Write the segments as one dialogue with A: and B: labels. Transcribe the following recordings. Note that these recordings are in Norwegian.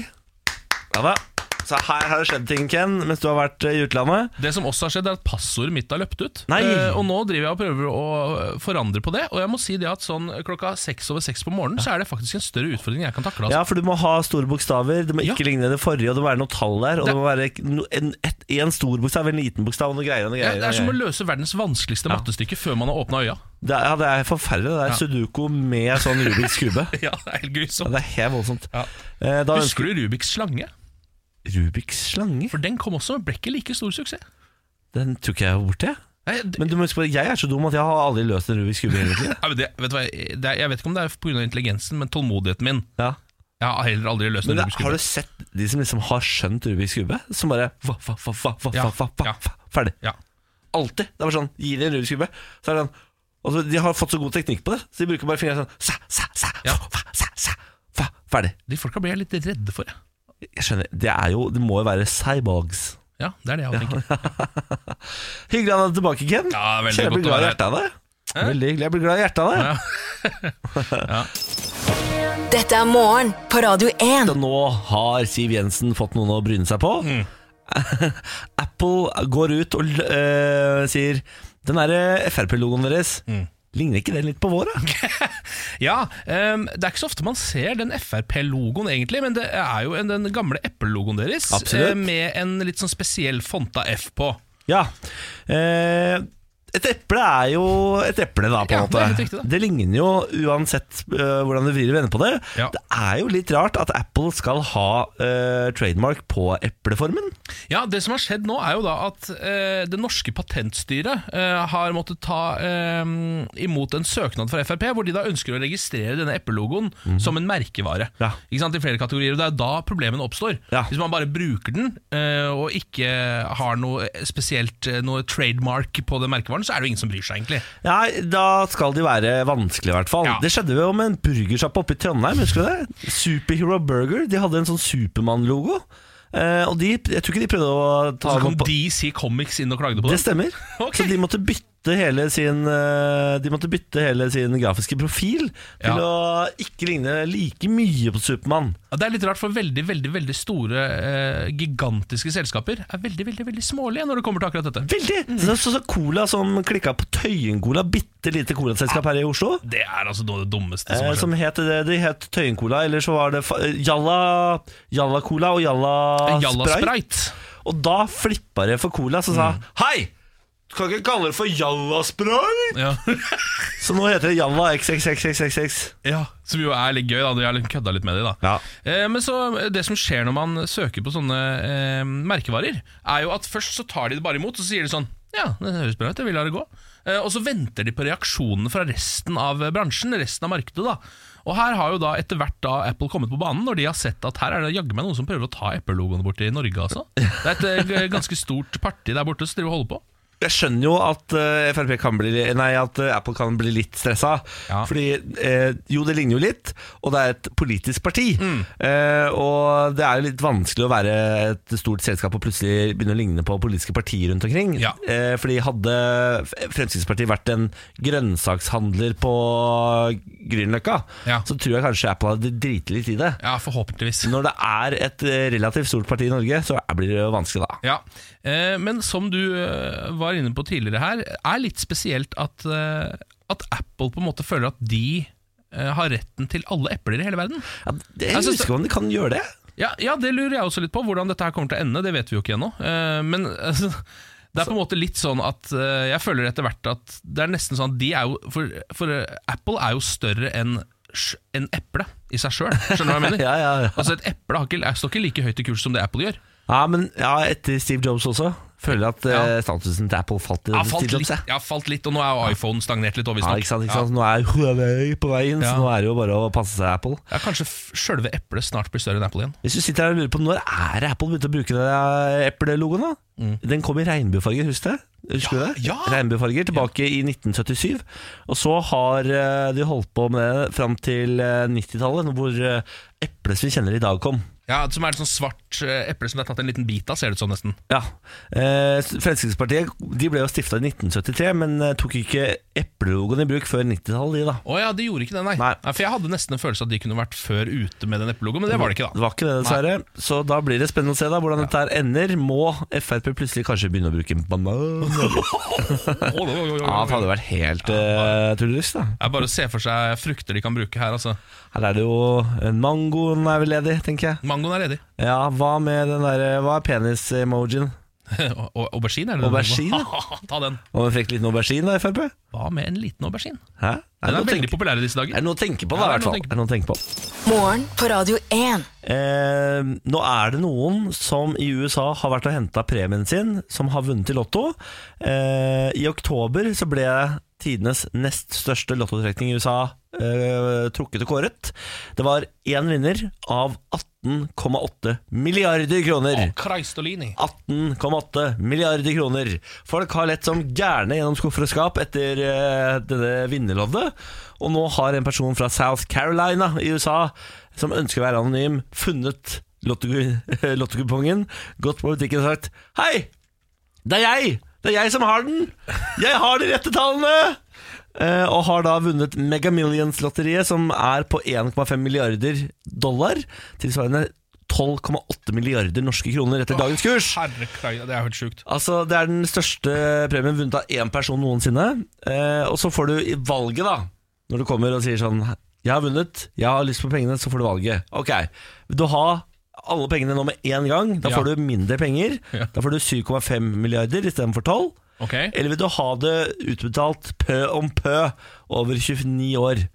A: Ja da. Så her har det skjedd ting, Ken, mens du har vært eh, i utlandet.
B: Det som også har skjedd, er at passordet mitt har løpt ut.
A: Nei.
B: Eh, og nå driver jeg og prøver å eh, forandre på det. Og jeg må si det at sånn klokka seks over seks på morgenen, så er det faktisk en større utfordring jeg kan takle. Altså.
A: Ja, for du må ha store bokstaver. Det må
B: Ja.
A: ikke ligne det forrige, og det må være noe tall der. Og
B: Det-
A: det må være no- en, et, en stor bokstav, en liten bokstav, og noe greier og noe
B: Ja,
A: greier.
B: det er
A: og
B: som å
A: noe greier.
B: løse verdens vanskeligste mattestykke før man har åpna øya.
A: det er, ja, det er forferdelig. Det er
B: Ja.
A: sudoku med sånn Rubiks kube.
B: Ja, det er
A: Ja,
B: helt grusomt.
A: det er helt voldsomt.
B: Ja.
A: Eh, da
B: Husker du Rubiks slange?
A: ønsker Rubiks slange?
B: For den kom også, men ble ikke like stor suksess.
A: Den tror ikke jeg var borte. jeg.
B: Nei, d-
A: Men du må huske på, jeg er så dum at jeg har aldri løst en Rubiks kube hele tiden.
B: Nei, men det, vet du hva, jeg- det, er- jeg vet ikke om det er pga. intelligensen, men tålmodigheten min.
A: Ja.
B: Jeg har heller aldri løst
A: Men
B: en
A: det,
B: Rubiks
A: har
B: kube.
A: du sett de som liksom har skjønt Rubiks kube? Som bare fa, fa, fa, fa, fa,
B: Ja,
A: fa, fa,
B: ja.
A: fa, Ferdig.
B: Ja.
A: Alltid. Det er bare sånn, Gi dem en Rubiks kube, så er det sånn og så, De har fått så god teknikk på det, så de bruker bare fingrene sånn sa, sa, sa,
B: Ja.
A: fa, sa, sa, fa, Ferdig.
B: De folka blir jeg litt redde for. jeg.
A: Jeg skjønner. Det er jo Det må jo være cyborgs.
B: Ja, det er det jeg tenker.
A: Hyggelig å ha deg tilbake, Ken.
B: Ja, veldig
A: Kjenner jeg
B: godt
A: blir glad
B: å
A: i
B: være
A: hjertet av deg. Veldig hyggelig. Jeg blir glad i hjertet av deg.
C: Dette er morgen på Radio 1.
A: Og nå har Siv Jensen fått noen å bryne seg på.
B: Mm.
A: Apple går ut og eh, sier Den eh, derre Frp-logoen deres,
B: Mm.
A: ligner ikke den litt på vår, da?
B: Ja, ehm, Det er ikke så ofte man ser den Frp-logoen, egentlig, men det er jo en- den gamle Apple-logoen deres
A: Absolutt.
B: eh, med en litt sånn spesiell fonta F på.
A: Ja. Eh, et eple er jo et eple, da, på en
B: Ja, det er
A: måte.
B: helt riktig, da.
A: det ligner jo uansett eh, hvordan du vrir og vender på det.
B: Ja.
A: Det er jo litt rart at Apple skal ha eh, trademark på epleformen.
B: Ja, Det som har skjedd nå, er jo da at eh, det norske patentstyret eh, har måttet ta eh, imot en søknad fra Frp, hvor de da ønsker å registrere denne Apple-logoen som en merkevare.
A: Mhm. Ja.
B: Ikke sant, I flere kategorier, og Det er da problemene oppstår.
A: Ja.
B: Hvis man bare bruker den eh, og ikke har noe spesielt eh, noe trademark på den merkevaren, så er det jo ingen som bryr seg, egentlig.
A: Nei, da skal de være vanskelig i hvert fall.
B: Ja.
A: Det skjedde jo med en burgersjappe oppe i Trondheim, husker du det? Superhero Burger. De hadde en sånn Supermann-logo. Eh, og de, jeg tror ikke de prøvde å ta
B: Så
A: noe
B: kom
A: på
B: DC Comics inn og klagde på
A: Det
B: det.
A: stemmer.
B: Ok.
A: Så de måtte bytte hele sin eh, De måtte bytte hele sin grafiske profil til
B: Ja.
A: å ikke ligne like mye på Supermann.
B: Ja, det er litt rart, for veldig veldig, veldig store, eh, gigantiske selskaper er veldig veldig, veldig smålige når det kommer til akkurat dette.
A: Veldig! Så, så, så Cola som klikka på Tøyen-Cola, bitte lite colaselskap her i Oslo.
B: Det er altså noe av det dummeste som
A: Eh,
B: har skjedd.
A: som het det, de het Tøyen-cola, eller så var det fa- eh, Jalla Jalla Cola og Jalla,
B: Eh, Jalla
A: Sprite.
B: Sprite. Mm.
A: Og da flippa det for Cola, som sa Hei! Du kan ikke kalle det for Jalla Sprite!
B: Ja.
A: Så nå heter det Jalla XXXXXX.
B: Som jo er litt gøy, da. De har litt kødda litt med det, da.
A: Ja.
B: Eh, Men så eh, det som skjer når man søker på sånne eh, merkevarer, er jo at først så tar de det bare imot, og så sier de sånn Ja, det høres bra ut, jeg vil la det gå. Eh, Og så venter de på reaksjonene fra resten av eh, bransjen, resten av markedet, da. Og her har jo da etter hvert da Apple kommet på banen, når de har sett at her er det jaggu meg noen som prøver å ta Apple-logoen borti Norge, altså. Det er et eh, g- ganske stort parti der borte som driver og holder på.
A: Jeg skjønner jo at, eh, FRP kan bli, nei, at eh, Apple kan bli litt stressa.
B: Ja.
A: Fordi eh, jo, det ligner jo litt, og det er et politisk parti.
B: Mm.
A: Eh, og det er jo litt vanskelig å være et stort selskap og plutselig begynne å ligne på politiske partier rundt omkring.
B: Ja.
A: Eh, fordi hadde F- Fremskrittspartiet vært en grønnsakshandler på Grünerløkka,
B: Ja.
A: så tror jeg kanskje Apple hadde driti litt i det.
B: Ja, forhåpentligvis.
A: Når det er et eh, relativt stort parti i Norge, så blir det jo vanskelig da.
B: Ja, eh, men som du eh, var inne på tidligere her, er litt spesielt at, eh, at Apple på en måte føler at de eh, har retten til alle epler i hele verden.
A: Ja, jeg
B: Jeg synes
A: husker
B: det-
A: ikke om de kan gjøre det.
B: Ja, ja, det lurer jeg også litt på. Hvordan dette her kommer til å ende, det vet vi jo ikke ennå. Eh, Men altså, det er på en måte litt sånn at eh, jeg føler etter hvert at det er nesten sånn at de er jo For, for eh, Apple er jo større enn sj- enn eple i seg sjøl, skjønner du hva jeg mener?
A: Ja, ja, ja.
B: Altså Et eple har ikke, står ikke like høyt i kurs som det Apple gjør.
A: Ja, men ja, etter Steve Jobs også. Føler at
B: Ja.
A: eh, statusen til Apple falt i
B: Jeg
A: ja,
B: har falt
A: Steve
B: litt,
A: Jobs. jeg.
B: jeg har falt litt, og nå er jo iPhone stagnert litt.
A: Ja, ikke sant, ikke sant? Nå er Huawei på vei inn,
B: Ja.
A: så nå er det jo bare å passe seg Apple.
B: Ja, kanskje f- sjølve eplet snart blir større enn Apple igjen.
A: Hvis du sitter her og lurer på når er det Apple begynte å bruke den der Apple-logoen, da? Den kom i regnbuefarger, husker du det? Husker du det?
B: Mm. ja.
A: Regnbuefarger tilbake i 1977. Og så har eh, de holdt på med det fram til eh, 90-tallet, hvor eh, eplet som vi kjenner i dag, kom.
B: Ja, Som er et sånn svart eh, eple som det er tatt en liten bit av, ser det ut som nesten.
A: Ja. Eh, Fremskrittspartiet de ble jo stifta i 1973, men eh, tok ikke eplelogoen i bruk før 90-tallet, de, da.
B: Å ja, de gjorde ikke det, nei.
A: Nei.
B: For jeg hadde nesten en følelse at de kunne vært før ute med den eplelogoen, men det var det ikke,
A: Det
B: da.
A: var ikke det, dessverre. Så da blir det spennende å se da hvordan dette her ender. Må Frp plutselig kanskje begynne å bruke banan?
B: Å, å, å, å, å.
A: Ja, det hadde vært helt uh, tullerus, da.
B: Jeg bare ser for seg frukter de kan bruke her, altså.
A: Her er det jo en Mangoen er vel ledig, tenker jeg.
B: Mangoen er ledig.
A: Ja, hva med den derre Hva er penis-emojien?
B: Au- au- aubergine, er det
A: Aubergine?
B: det? Ta den.
A: Og en frekk liten aubergine, da, Frp?
B: Hva med en liten aubergine?
A: Hæ?
B: Den
A: noe å
B: er veldig
A: tenke-
B: populær i disse
A: er
B: dager.
A: det noe å tenke på,
B: Ja,
A: da, i hvert
B: det er noe å
A: fall.
B: tenke
A: Er det noe å tenke på.
C: Morgen på Radio 1.
A: Eh, nå er det noen som i USA har vært og henta premien sin, som har vunnet i Lotto. Eh, I oktober så ble tidenes nest største lottotrekning i USA eh, trukket og kåret. Det var én vinner av 18,8 milliarder kroner.
B: Kreistolini.
A: 18,8 milliarder kroner. Folk har lett som gærne gjennom skuffer og skap etter eh, denne vinnerloddet. Og nå har en person fra South Carolina i USA, som ønsker å være anonym, funnet lottoku- lottokupongen, gått på butikken og sagt Hei! Det er jeg! Det er jeg som har den! Jeg har de rette tallene! Eh, Og har da vunnet Mega Millions-lotteriet, som er på 1,5 milliarder dollar. Tilsvarende 12,8 milliarder norske kroner etter dagens kurs.
B: Herre Kreis- det er helt sjukt.
A: Altså, Det er den største premien vunnet av én person noensinne. Eh, og så får du i valget, da, når du kommer og sier sånn 'Jeg har vunnet, jeg har lyst på pengene', så får du valget. Ok, Vil du ha alle pengene nå med én gang? Da
B: Ja.
A: får du mindre penger.
B: Ja.
A: Da får du 7,5 milliarder istedenfor 12.
B: Ok,
A: Eller vil du ha det utbetalt pø om pø over 29 år?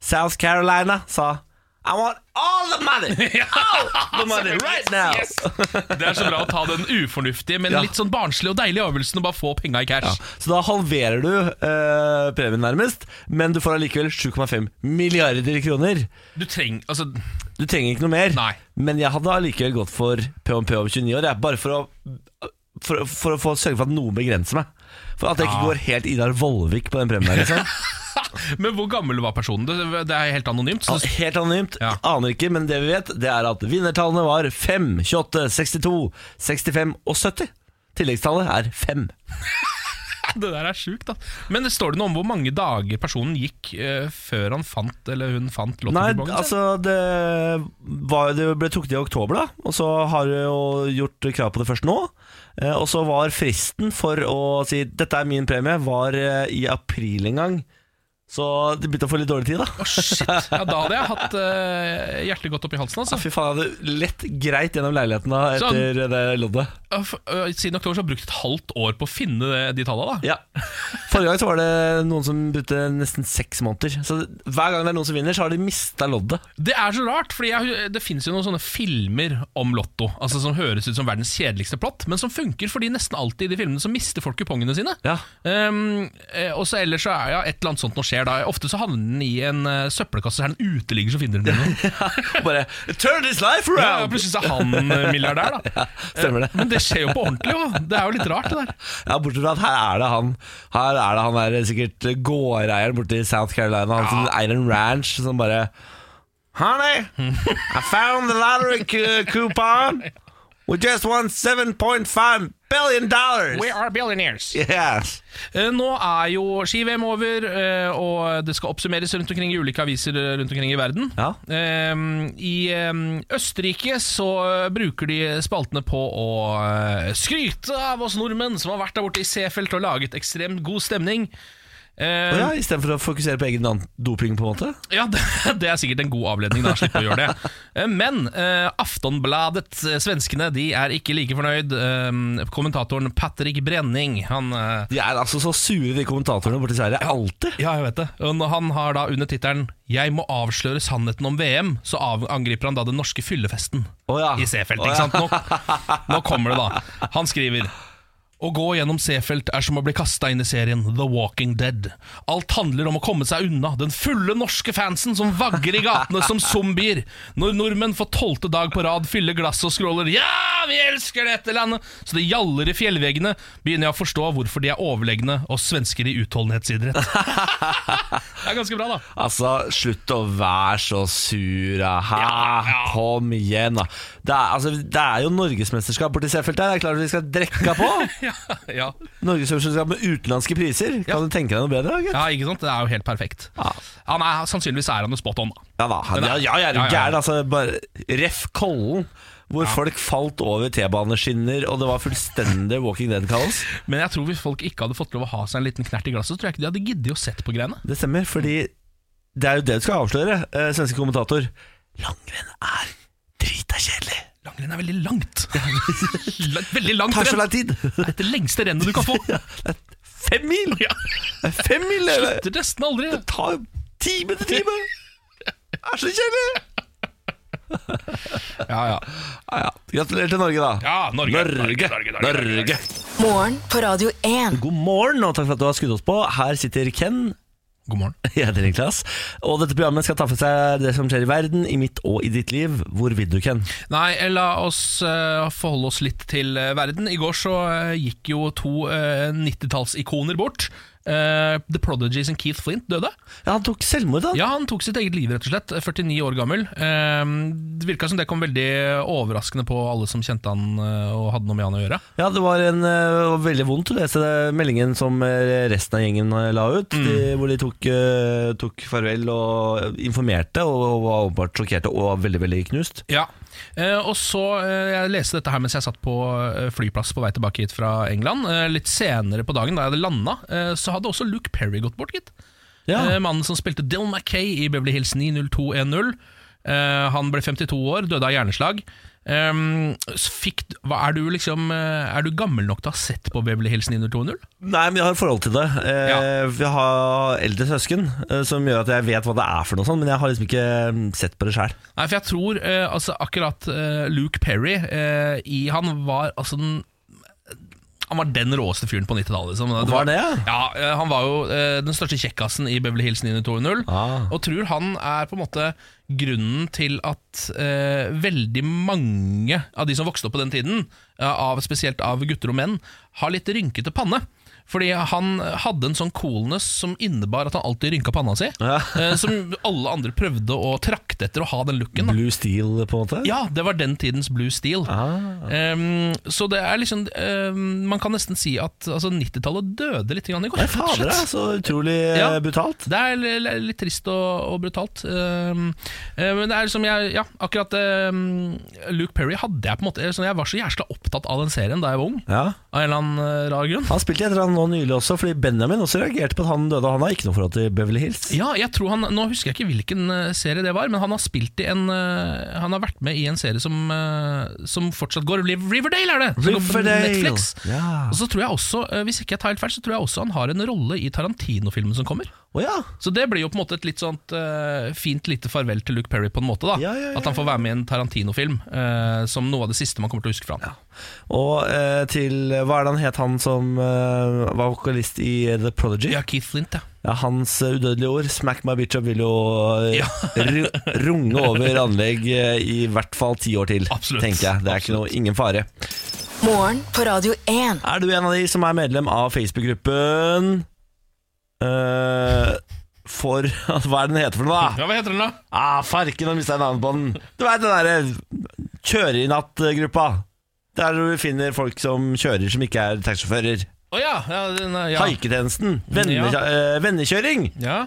A: South Carolina sa 'I want all the money! All the money right now!'
B: Det er så bra å ta den ufornuftige, men
A: Ja.
B: litt sånn barnslige og deilige øvelsen og bare få penga i cash.
A: Så da halverer du eh, premien nærmest, men du får allikevel 7,5 milliarder kroner.
B: Du trenger Altså,
A: Du trenger ikke noe mer.
B: Nei.
A: Men jeg hadde allikevel gått for PMP over 29 år, jeg, bare for å, for, for å få sørge for at noe begrenser meg. For at jeg ikke
B: Ja.
A: går helt Idar Vollvik på den premien. her, Liksom.
B: men hvor gammel var personen? Det, det er helt anonymt. Så det,
A: Helt anonymt,
B: Ja.
A: aner ikke, men det vi vet, det er at vinnertallene var 5, 28, 62, 65 og 70. Tilleggstallet er 5.
B: det der er sjukt, da. Men det står det noe om hvor mange dager personen gikk eh, før han fant eller hun fant
A: Nei,
B: lottokupongen? sin?
A: altså det, var, det ble trukket i oktober, da. Og så har jeg jo gjort krav på det først nå. Eh, og så var fristen for å si 'dette er min premie', var eh, i april en gang. Så det begynte å få litt dårlig tid, da.
B: Å, shit. Ja, da hadde jeg hatt eh, hjertet godt oppi halsen. Altså.
A: Fy faen, jeg hadde lett greit gjennom leiligheten da
B: Sånn.
A: etter det loddet.
B: Ja, f- øh, Siden oktober så har jeg brukt et halvt år på å finne det, de tallene. Da.
A: Ja. Forrige gang så var det noen som brukte nesten seks måneder. Så hver gang det er noen som vinner, så har de mista loddet.
B: Det er så rart, for det finnes jo noen sånne filmer om Lotto altså som høres ut som verdens kjedeligste plott, men som funker fordi nesten alltid i de filmene så mister folk kupongene sine.
A: Ja.
B: Um, eh, og så ellers så er ja, et eller annet sånt noe skjer da. Ofte så havner den i en eh, søppelkasse, så er det en uteligger som finner den. Ja,
A: Bare 'turn this life
B: ja,
A: around'!
B: plutselig så er han eh, milliardær, da. Eh,
A: Stemmer det.
B: Men det skjer jo på ordentlig, jo. Det er jo litt rart, det der.
A: Ja, bortsett fra at her er det han Her er det han der sikkert eh, gårdeieren borte i South Carolina Han som eier en ranch som bare Honey, I found the lottery cu- coupon We just won 7.5 billion dollars
B: are billionaires.
A: Yes
B: Eh, Nå er jo ski-VM over, eh, og det skal oppsummeres rundt omkring i ulike aviser eh, rundt omkring i verden.
A: Ja.
B: Eh, I eh, Østerrike så eh, bruker de spaltene på å eh, skryte av oss nordmenn som har vært der borte i Seefeld og laget ekstremt god stemning. Eh,
A: ja, I stedet for å fokusere på egen doping på en måte
B: ja, det, det er sikkert en god avledning. da, slipp å gjøre det. Eh, Men eh, Aftonbladet, eh, svenskene, de er ikke like fornøyd. Eh, kommentatoren Patrick Brenning han... Eh,
A: De er altså så sure de kommentatorene borte i Sverige Altid
B: Ja, jeg vet det. Og når han har da under tittelen 'Jeg må avsløre sannheten om VM', så av angriper han da den norske fyllefesten
A: Åja
B: i Seefeld.
A: Åja.
B: Ikke sant? Nå, nå kommer det, da. Han skriver å gå gjennom Seefeld er som å bli kasta inn i serien The Walking Dead. Alt handler om å komme seg unna den fulle norske fansen som vagger i gatene som zombier. Når nordmenn for tolvte dag på rad fyller glasset og skråler 'Ja, vi elsker dette landet!' så det gjaller i fjellveggene, begynner jeg å forstå hvorfor de er overlegne oss svensker i utholdenhetsidrett. det er ganske bra, da.
A: Altså, slutt å være så sur. da. Hæ? Kom igjen, da. Det er, altså, det er jo norgesmesterskap borti Seefeld her. Det er klart vi skal drekke på.
B: Ja, ja.
A: Norgesmesterskap med utenlandske priser. Kan du tenke deg noe bedre? da, gutt?
B: ja, ikke sant? Det er jo helt perfekt.
A: Ja.
B: Han er, sannsynligvis er han jo spot on, da.
A: Ja da.
B: Men
A: Ja, ja,
B: det-
A: jeg er jo
B: ja, ja, ja.
A: gæren. Altså, bare Ref Kollen. Hvor folk falt over T-baneskinner, og det var fullstendig Walking Dead-kaos.
B: Men jeg tror hvis folk ikke hadde fått lov å ha seg en liten knert i glasset, så tror jeg ikke de hadde giddet å sett på greiene.
A: Det stemmer, fordi det er jo det du skal avsløre, eh, svenske kommentator. Langrenn er drita kjedelig.
B: Langrenn er veldig langt. La- veldig langt
A: Tar så
B: renn.
A: lang tid.
B: Det er det lengste rennet du kan få.
A: Fem mil!
B: Ja.
A: Det er Fem mil! eller?
B: Slutter nesten aldri.
A: Det tar jo time til time. Det er så kjedelig.
B: Ja, ja.
A: Ja, ja. Gratulerer til Norge, da.
B: Ja, Norge.
A: Norge. Norge.
B: Norge.
D: Morgen på Radio 1.
A: God morgen, og takk for at du har skutt oss på. Her sitter Ken.
B: God morgen.
A: Jeg heter Niklas. Og dette programmet skal ta for seg det som skjer i verden, i mitt og i ditt liv. Hvor vil du, Ken?
B: Nei, eh, la oss eh, forholde oss litt til eh, verden. I går så eh, gikk jo to eh, 90-tallsikoner bort. Eh, The Prodigy sin Keith Flint døde.
A: Ja, han tok selvmord, da.
B: Ja, han tok sitt eget liv, rett og slett. 49 år gammel. Eh, Det virka som det kom veldig overraskende på alle som kjente han eh, og hadde noe med han å gjøre.
A: Ja, det var en, eh, veldig vondt å lese det- meldingen som eh, resten av gjengen eh, la ut, de, hvor de tok, eh, tok farvel og informerte, og, og var åpenbart sjokkerte og veldig, veldig knust.
B: Ja, eh, og så eh, Jeg leste dette her mens jeg satt på eh, flyplass på vei tilbake hit fra England. Eh, litt senere på dagen, da jeg hadde landa, eh, så hadde også Luke Perry gått bort, gitt. Eh,
A: Ja.
B: mannen som spilte Dylan Mackay i Beverly Hills 90210. Eh, han ble 52 år, døde av hjerneslag. Ehm, så fikk, hva, er, du liksom, eh, er du gammel nok til å ha sett på Beverly Hills 90210?
A: Nei, men jeg har et forhold til det. Eh,
B: Ja.
A: Jeg har eldre søsken, eh, som gjør at jeg vet hva det er for noe sånt, men jeg har liksom ikke mm, sett på det sjøl.
B: Nei, for jeg tror eh, altså, akkurat eh, Luke Perry eh, i, Han var altså den han var den råeste fyren på 90-tallet. Liksom. Det
A: Var det?
B: Ja, eh, Han var jo eh, den største kjekkasen i Beverly Hills 90210.
A: Ah.
B: oh. Og tror han er på en måte grunnen til at eh, veldig mange av de som vokste opp på den tiden, eh, av, spesielt av gutter og menn, har litt rynkete panne. Fordi han hadde en sånn coolness som innebar at han alltid rynka panna si.
A: Ja.
B: eh, som alle andre prøvde å trakte etter å ha den looken. da.
A: Blue Steel, på en måte?
B: Ja, det var den tidens Blue Steel.
A: Ah.
B: Ehm, så det er liksom ehm, Man kan nesten si at altså, 90-tallet døde litt grann i går.
A: Nei,
B: rett og
A: fader,
B: slett.
A: det er så utrolig
B: Ja.
A: eh, brutalt.
B: Det er li- li- litt trist og, og brutalt. Ehm, eh, men det er liksom jeg, Ja, akkurat ehm, Luke Perry hadde jeg på en måte liksom, Jeg var så jævla opptatt av den serien da jeg var ung.
A: Ja.
B: Av en eller annen eh, rar grunn.
A: Han spilte etter han nå nylig også, fordi Benjamin også reagerte på at han døde. og Han har ikke noe forhold til Beverly Hills.
B: Ja, jeg tror han Nå husker jeg ikke hvilken eh, serie det var, men han har spilt i en eh, Han har vært med i en serie som, eh, som fortsatt går. Riv- Riverdale er det! Som går på
A: Riverdale.
B: Netflix.
A: Ja.
B: Og så tror jeg også, eh, hvis ikke jeg tar helt feil, så tror jeg også han har en rolle i Tarantino-filmen som kommer.
A: Å ja.
B: Så det blir jo på en måte et litt sånt eh, fint lite farvel til Luke Perry, på en måte. da
A: Ja, ja, ja,
B: At han får være med i en Tarantino-film eh, som noe av det siste man kommer til å huske fra han.
A: Og eh, til Hva er det han het, han som eh, var vokalist i The Prodigy?
B: Ja, Keith Flint, ja.
A: Ja, hans eh, udødelige ord, 'smack my bitch up', vil jo eh,
B: Ja.
A: ru- runge over anlegg eh, i hvert fall ti år til.
B: Absolutt.
A: Tenker jeg. Det er ikke noe, ingen fare.
D: Morgen på Radio 1.
A: Er du en av de som er medlem av Facebook-gruppen eh, For Hva er det den heter for noe, da?
B: ja. Hva heter den, da?
A: Ah, farken, nå mista jeg navnet på den. Du veit den derre kjøre i natt-gruppa. Der hvor du finner folk som kjører som ikke er taxisjåfører.
B: Å ja, ja, den, er- ja.
A: Haiketjenesten. Venne,
B: Ja.
A: eh, vennekjøring.
B: ja.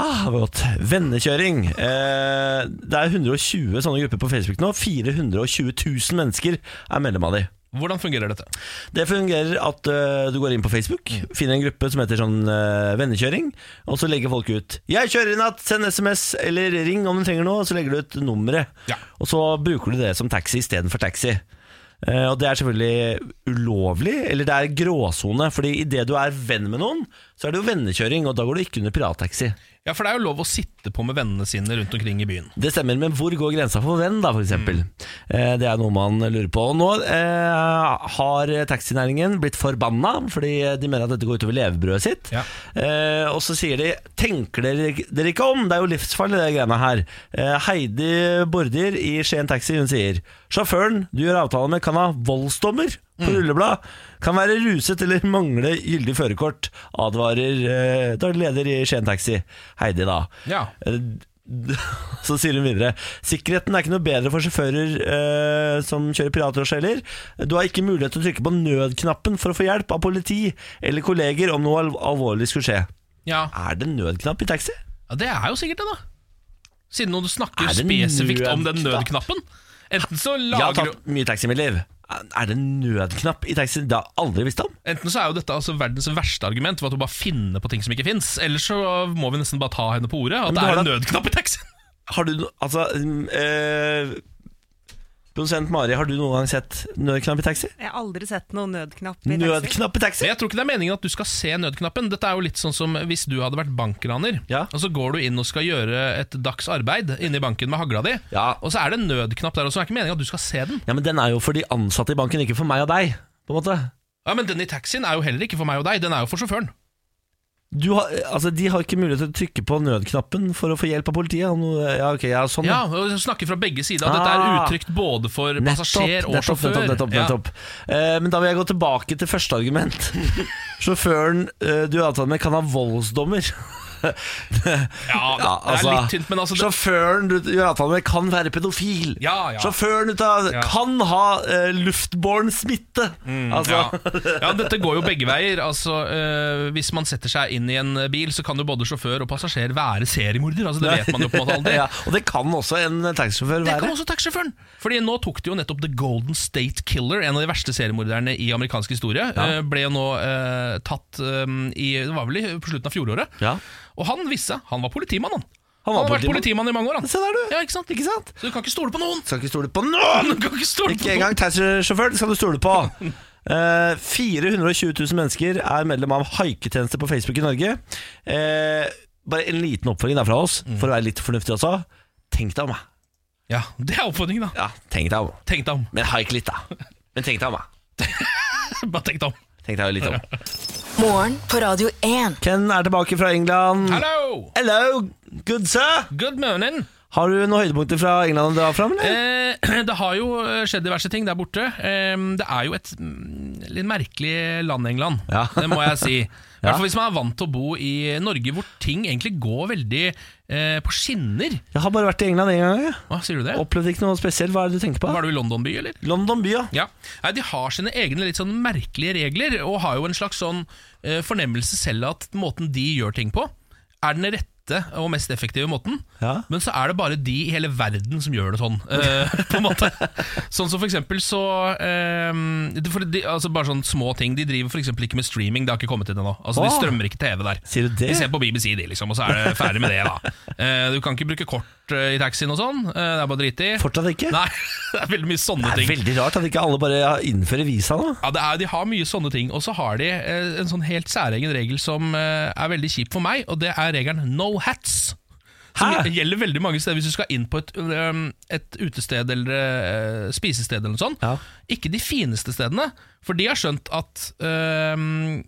A: Ah, det var godt. Vennekjøring. Eh, det er 120 sånne grupper på Facebook nå. 420 000 mennesker er medlem av de.
B: Hvordan fungerer dette?
A: Det fungerer at eh, du går inn på Facebook, finner en gruppe som heter sånn eh, vennekjøring, og så legger folk ut 'Jeg kjører i natt, send SMS eller ring om du trenger noe', og så legger du ut nummeret.
B: Ja.
A: Og så bruker du det som taxi istedenfor taxi. Eh, og det er selvfølgelig ulovlig, eller det er gråsone, fordi idet du er venn med noen, så er det jo vennekjøring, og da går du ikke under pirattaxi.
B: Ja, For det er jo lov å sitte på med vennene sine rundt omkring i byen.
A: Det stemmer, men hvor går grensa for venn, da, for eksempel? Eh, det er noe man lurer på. Og nå eh, har taxinæringen blitt forbanna, fordi de mener at dette går utover levebrødet sitt.
B: Ja.
A: Eh, og så sier de 'tenker dere, dere ikke om', det er jo livsfarlig, det greiene her. Eh, Heidi Bordir i Skien Taxi, hun sier 'sjåføren du gjør avtale med, kan ha voldsdommer'. På
B: Mm.
A: rulleblad Kan være ruset eller mangle gyldig førerkort, advarer eh, daglig leder i Skien Taxi, Heidi, da.
B: Ja.
A: Eh, Så sier hun videre Sikkerheten er ikke noe bedre for sjåfører eh, som kjører piratrush heller. Du har ikke mulighet til å trykke på nødknappen for å få hjelp av politi eller kolleger om noe alv- alvorlig skulle skje.
B: Ja.
A: Er det nødknapp i taxi?
B: Ja, Det er jo sikkert det, da. Siden du snakker
A: Er det
B: spesifikt om den
A: nødknapp?
B: nødknappen. Enten så,
A: Jeg har
B: lager,
A: tatt mye taxi i mitt liv. Er det nødknapp i taxi? Det har jeg aldri visst om.
B: enten så er jo dette altså verdens verste argument, ved at du bare finner på ting som ikke fins. Eller så må vi nesten bare ta henne på ordet, at
A: Men
B: det
A: du
B: er
A: har
B: en nødknapp i taxien.
A: Har du no- Altså mm, eh, Produsent Mari, har du noen gang sett nødknapp i taxi?
E: Jeg har aldri sett noen nødknapp i taxi.
A: Nødknapp i
B: Men
A: taxi?
B: jeg tror ikke det er meningen at du skal se nødknappen. Dette er jo litt sånn som hvis du hadde vært bankraner,
A: Ja.
B: og så går du inn og skal gjøre et dags arbeid inne i banken med hagla di,
A: Ja.
B: og så er det en nødknapp der også. Det er ikke meningen at du skal se den.
A: Ja, men den er jo for de ansatte i banken, ikke for meg og deg. På en måte
B: Ja, Men den i taxien er jo heller ikke for meg og deg, den er jo for sjåføren.
A: Du har, altså, de har ikke mulighet til å trykke på nødknappen for å få hjelp av politiet. om noe- Ja, ok, ja, sånn
B: Ja, og Snakker fra begge sider. At dette er
A: Ah.
B: uttrykt både for passasjer
A: Nettopp,
B: og
A: nettopp,
B: sjåfør.
A: nettopp, nettopp,
B: Ja.
A: nettopp. Eh, Men da vil jeg gå tilbake til første argument. Sjåføren eh, du er avtalt med, kan ha voldsdommer.
B: Ja,
A: Ja,
B: det
A: altså,
B: er litt tynt, men altså det,
A: Sjåføren du gjør avtale med, kan være pedofil.
B: Ja, ja.
A: Sjåføren du tar,
B: Ja. Mm,
A: kan ha eh, luftbåren smitte. altså,
B: ja. ja, dette går jo begge veier. Altså, eh, hvis man setter seg inn i en bil, så kan jo både sjåfør og passasjer være seriemorder. Altså, det vet man jo på en måte aldri.
A: ja, og det kan også en taxisjåfør
B: Det kan
A: være.
B: også taxisjåføren. Fordi nå tok det jo nettopp The Golden State Killer, en av de verste seriemorderne i amerikansk historie, eh, ble jo nå eh, tatt eh, i Det var vel i, på slutten av fjoråret.
A: Ja.
B: Og han visste Han var politimann, han.
A: Han
B: Han,
A: var
B: har vært
A: politimann.
B: politimann i mange år, han.
A: Se der, du.
B: Ja, ikke sant?
A: Ikke sant?
B: Så du kan ikke stole på noen!
A: Skal ikke stole på noen!
B: Du kan ikke stole
A: Ikke
B: på noen.
A: engang taxisjåføren skal du stole på. Eh, 420 000 mennesker er medlem av haiketjeneste på Facebook i Norge. Eh, bare en liten oppfordring der fra oss,
B: Mm.
A: for å være litt fornuftig også. Tenk deg om, da.
B: Ja, Det er oppfordringen, da.
A: Ja, tenk deg om.
B: Tenk deg om.
A: Men haik litt, da. Men tenk deg om, da.
B: Bare tenk deg om.
A: Tenk deg litt om.
D: Morgen på Radio 1.
A: Ken er tilbake fra England.
B: Hello!
A: Hello, good sir!
B: Good morning!
A: Har du noen høydepunkter fra England å dra fram, eller?
B: Eh, det har jo skjedd diverse ting der borte. Eh, det er jo et mm, litt merkelig land, England.
A: Ja.
B: Det må jeg si. I hvert fall hvis man er vant til å bo i Norge, hvor ting egentlig går veldig eh, på skinner.
A: Jeg har bare vært i England én gang. jeg.
B: Hva sier du det?
A: Opplevde ikke noe spesielt. Hva er det du tenker på?
B: Var du i London by, eller?
A: London by, ja.
B: Ja, Nei, De har sine egne litt sånn merkelige regler, og har jo en slags sånn eh, fornemmelse selv at måten de gjør ting på, er den rette og mest effektive måten.
A: Ja.
B: Men så er det bare de i hele verden som gjør det sånn. eh, på en måte Sånn som for eksempel så eh, det- for de, altså Bare sånne små ting. De driver for eksempel ikke med streaming, det har ikke kommet til det nå. Altså, de
A: Åh.
B: strømmer ikke TV der.
A: Sier du det?
B: De ser på BBC, de, liksom, og så er det ferdig med det. da Eh, Du kan ikke bruke kort eh, i taxien og sånn. eh, det er bare drit i.
A: Fortsatt ikke?
B: Nei, det er veldig mye sånne
A: Det
B: ting.
A: er veldig rart at ikke alle bare innfører visa nå.
B: Ja, det er, De har mye sånne ting, og så har de eh, en sånn helt særegen regel som eh, er veldig kjip for meg, og det er regelen no hats. Som
A: Hæ?
B: gjelder veldig mange steder hvis du skal inn på et, um, et utested eller eh, spisested eller noe sånt.
A: Ja.
B: Ikke de fineste stedene, for de har skjønt at um,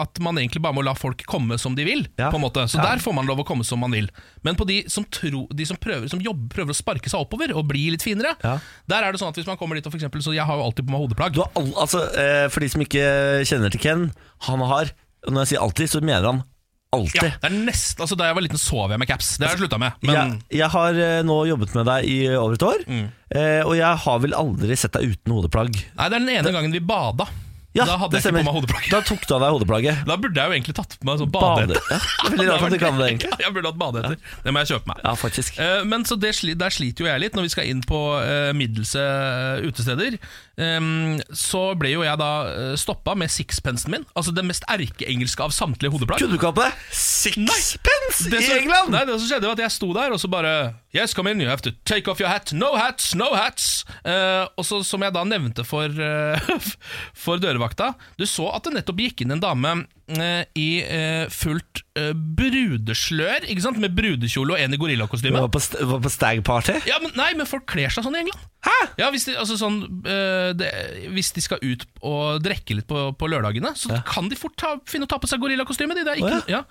B: at man egentlig bare må la folk komme som de vil.
A: Ja.
B: på en måte Så
A: Ja.
B: der får man lov å komme som man vil. Men på de som, tro, de som, prøver, som jobber, prøver å sparke seg oppover og bli litt finere,
A: Ja.
B: der er det sånn at hvis man kommer dit og for eksempel, Så jeg har jo alltid på meg hodeplagg.
A: Du har all, altså, eh, for de som ikke kjenner til Ken, han har og Når jeg sier alltid, så mener han alltid.
B: Ja, det er nesten, altså Da jeg var liten, sov jeg med caps. Det har jeg slutta med. Men Mm.
A: jeg, jeg har eh, nå jobbet med deg i over et år, eh, og jeg har vel aldri sett deg uten hodeplagg.
B: nei, det er den ene gangen vi bada.
A: Ja,
B: da hadde
A: det
B: jeg ikke
A: stemmer.
B: på meg hodeplagg.
A: Da
B: Da,
A: tok du av deg hodeplagget.
B: burde jeg jo egentlig tatt på meg sånn
A: Bade.
B: badehette.
A: Ja, det er veldig rart at du kan det, egentlig.
B: Ja, jeg burde hatt badehetter. Det må jeg kjøpe meg.
A: Ja, faktisk.
B: Eh, Men så det, sli- Der sliter jo jeg litt når vi skal inn på eh, middelse eh, utesteder. Em, så ble jo jeg da eh, stoppa med sixpensen min, altså det mest erkeengelske av samtlige hodeplagg.
A: Kunne du ikke hatt på deg sixpence i
B: som-
A: England?
B: Nei, det som skjedde var at jeg sto der, og så bare Yes, come in, you have to take off your hat. No hats, no hats! Eh, og så, som jeg da nevnte for, eh, for dørvakta, du så at det nettopp gikk inn en dame eh, i eh, fullt eh, brudeslør, ikke sant? Med brudekjole og en i
A: Du
B: gorillakostyme.
A: var på, st- var på stag party?
B: Ja, men, nei, men folk kler seg sånn i England.
A: Hæ?
B: Ja, Hvis de, altså sånn, øh, det, hvis de skal ut og drikke litt på, på lørdagene, så kan de fort ta, finne å ta på seg gorillakostyme. De. Det er ikke,
A: Å,
B: ja.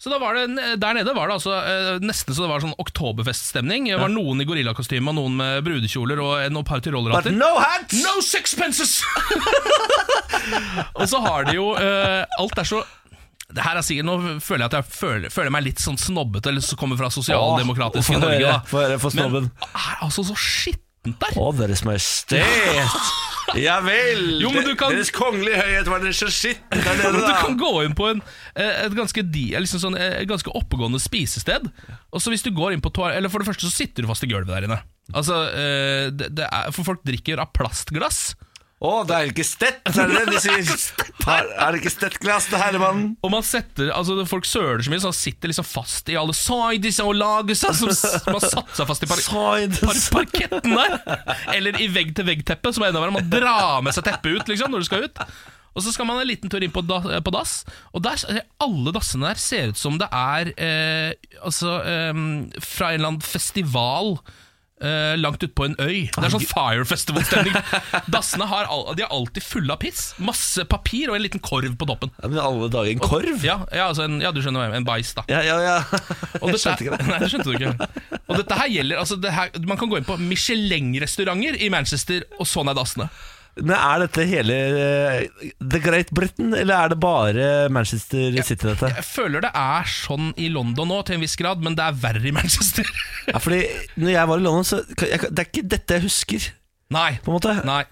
B: Så da var det, Der nede var det altså øh, nesten så det var sånn oktoberfeststemning. Det var noen i gorillakostyme og noen med brudekjoler og en og et par
A: But
B: tyrollerhatter.
A: no hats!
B: No sixpences! og så har de jo øh, Alt er så det her er sikkert, Nå føler jeg at jeg føler, føler meg litt sånn snobbete, eller så kommer fra sosialdemokratiske
A: Åh, få
B: Norge.
A: høre,
B: da
A: få høre, få snobben.
B: men det er altså så skittent der.
A: Å, deres majestet. ja vel.
B: Jo, men du kan-
A: Deres kongelige høyhet var det så skitten der
B: Men
A: nede,
B: Du
A: da.
B: kan gå inn på en, eh, et ganske, di- eh, liksom sånn, eh, et ganske oppegående spisested. Og så hvis du går inn på toal- Eller For det første så sitter du fast i gulvet der inne. Altså, eh, det, det er, For folk drikker av plastglass.
A: Å, det er ikke stett, er det det de sier? Her, er det ikke stettglass, det herremannen?
B: Og man setter, altså folk søler så mye, så man sitter liksom fast i alle sides og lager seg som s- Man har satt seg fast i par,
A: Sides.
B: par, parketten der. Eller i vegg-til-vegg-teppet, som er enda verre. Man drar med seg teppet ut liksom, når du skal ut. Og så skal man en liten tur inn på, da, på dass, og der, ser- alle dassene der ehm, ser ut som det er eh, altså, eh, fra en eller annen festival eh, langt ute på en øy. Det er sånn Fire Festival-stemning. Dassene har, al de er alltid fulle av piss. Masse papir og en liten korv på toppen.
A: Ja, men alle dager, en korv?
B: Ja, ja, altså en, ja du skjønner hva jeg mener. En bæsj, da.
A: Ja, ja, ja.
B: Og
A: Jeg
B: dette-
A: skjønte ikke det.
B: Nei, det skjønte du ikke. Og dette her gjelder, altså det her, Man kan gå inn på Michelin-restauranter i Manchester, og sånn er dassene.
A: Men er dette hele eh, The Great Britain, eller er det bare Manchester City, dette?
B: Jeg føler det er sånn i London nå, til en viss grad, men det er verre i Manchester.
A: Ja, fordi når jeg var i London, så kan jeg, Det er ikke dette jeg husker,
B: Nei.
A: på en måte.
B: Nei.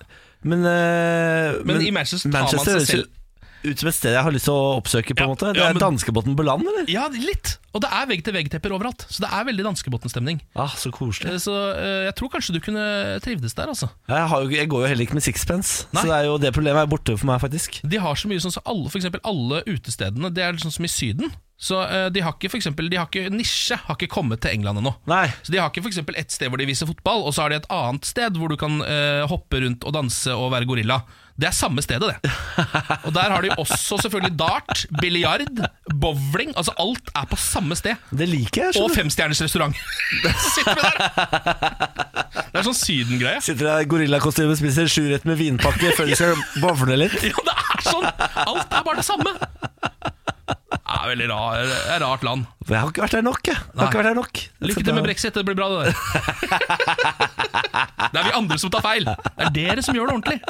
A: Men, eh,
B: Men i Manchester tar man
A: Manchester
B: seg
A: høres
B: selv-
A: ut som et sted jeg har lyst til å oppsøke, på en
B: Ja,
A: måte. Det
B: ja,
A: er
B: men-
A: danskebåten på land, eller?
B: Ja, litt. Og det er vegg-til-vegg-tepper overalt, så det er veldig danskebotn-stemning.
A: Ah, så koselig.
B: Eh, Så eh, jeg tror kanskje du kunne trivdes der, altså.
A: Jeg, har jo, ikke- jeg går jo heller ikke med sixpence,
B: Nei.
A: så det, er jo, det problemet er borte for meg, faktisk.
B: De har så mye sånn som alle, for eksempel alle utestedene, det er sånn som i Syden. Så eh, de har ikke, for eksempel, de har ikke nisje, har ikke kommet til England ennå.
A: Nei.
B: Så de har ikke for eksempel et sted hvor de viser fotball, og så har de et annet sted hvor du kan eh, hoppe rundt og danse og være gorilla. Det er samme stedet, det. Og der har de også selvfølgelig dart, biljard, bowling. Altså alt er på samme sted.
A: Det liker jeg.
B: Og
A: skjønner du.
B: femstjerners restaurant. Sitter vi der! Det er sånn Syden-greie.
A: Sitter der i gorillakostyme og spiser sjurett med vinpakke før de skal bovle litt.
B: Ja, det er sånn! Alt er bare det samme. Det er veldig rar, det er et rart land.
A: Men Jeg har ikke vært der nok, jeg. jeg
B: Nei.
A: har ikke vært der nok.
B: Lykke til med brexit, det blir bra, det der. Det er vi andre som tar feil. Det er dere som gjør det ordentlig.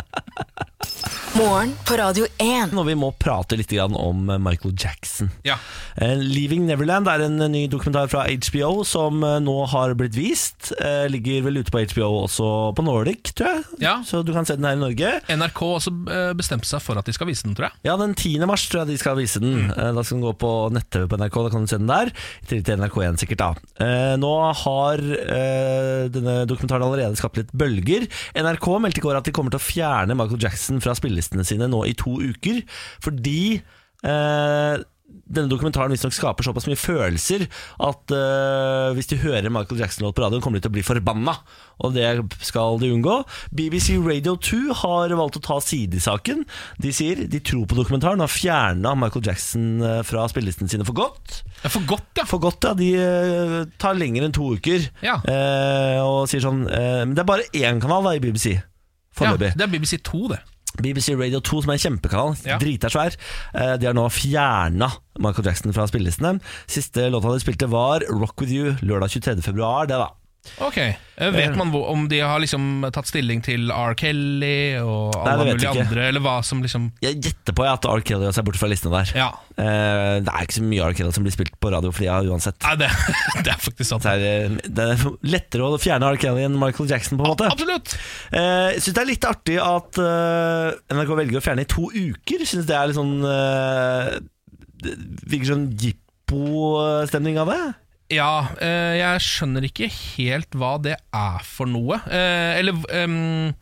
D: Morgen på Radio 1.
A: Når vi må prate litt grann om eh, Michael Jackson.
B: Ja.
A: Eh, 'Leaving Neverland' er en eh, ny dokumentar fra HBO som eh, nå har blitt vist. Eh, Ligger vel ute på HBO også på Nordic, tror jeg.
B: Ja.
A: Så du kan se den her i Norge.
B: NRK også eh, bestemte seg for at de skal vise den, tror jeg.
A: Ja, den 10. mars tror jeg de skal vise den.
B: Mm.
A: Eh, Da skal den gå på nett-TV på NRK. Da kan du se den der. I tillegg til NRK1 sikkert, da. Eh, Nå har eh, denne dokumentaren allerede skapt litt bølger. NRK meldte i går at de kommer til å fjerne Michael Jackson fra spillelistene sine nå i to uker, fordi eh, denne dokumentaren visstnok skaper såpass mye følelser at eh, hvis de hører Michael Jackson-låt på radioen, kommer de til å bli forbanna. Og det skal de unngå. BBC Radio 2 har valgt å ta side i saken. De sier de tror på dokumentaren og har fjerna Michael Jackson eh, fra spillelistene sine for godt.
B: Ja, for godt, ja.
A: For godt, ja. De eh, tar lenger enn to uker
B: Ja.
A: eh, og sier sånn eh, Men det er bare én kanal da i BBC.
B: ja.
A: Foreløpig.
B: Det er BBC2, det.
A: BBC Radio 2, som er en kjempekanal,
B: Ja.
A: drita svær, eh, de har nå fjerna Michael Jackson fra spillelistene. Siste låta de spilte, var 'Rock With You' lørdag 23. februar. Det, da.
B: Ok, Eh, Vet man hvor, om de har liksom tatt stilling til R. Kelly og alle
A: Nei, det vet
B: mulige
A: jeg ikke.
B: andre, eller hva som liksom
A: Jeg gjetter på at R. Kelly gjør seg bort fra listene der.
B: Ja.
A: Eh, det er ikke så mye R. Kelly som blir spilt på radio for tida uansett.
B: Nei, det, det er faktisk sant.
A: Så er, det- det er lettere å fjerne R. Kelly enn Michael Jackson, på en måte.
B: Absolutt!
A: Eh, Jeg synes det er litt artig at eh, NRK velger å fjerne i to uker. Synes det er litt sånn eh, det Virker sånn jippo-stemning av det.
B: Ja, eh, jeg skjønner ikke helt hva det er for noe. Eh, eller ehm,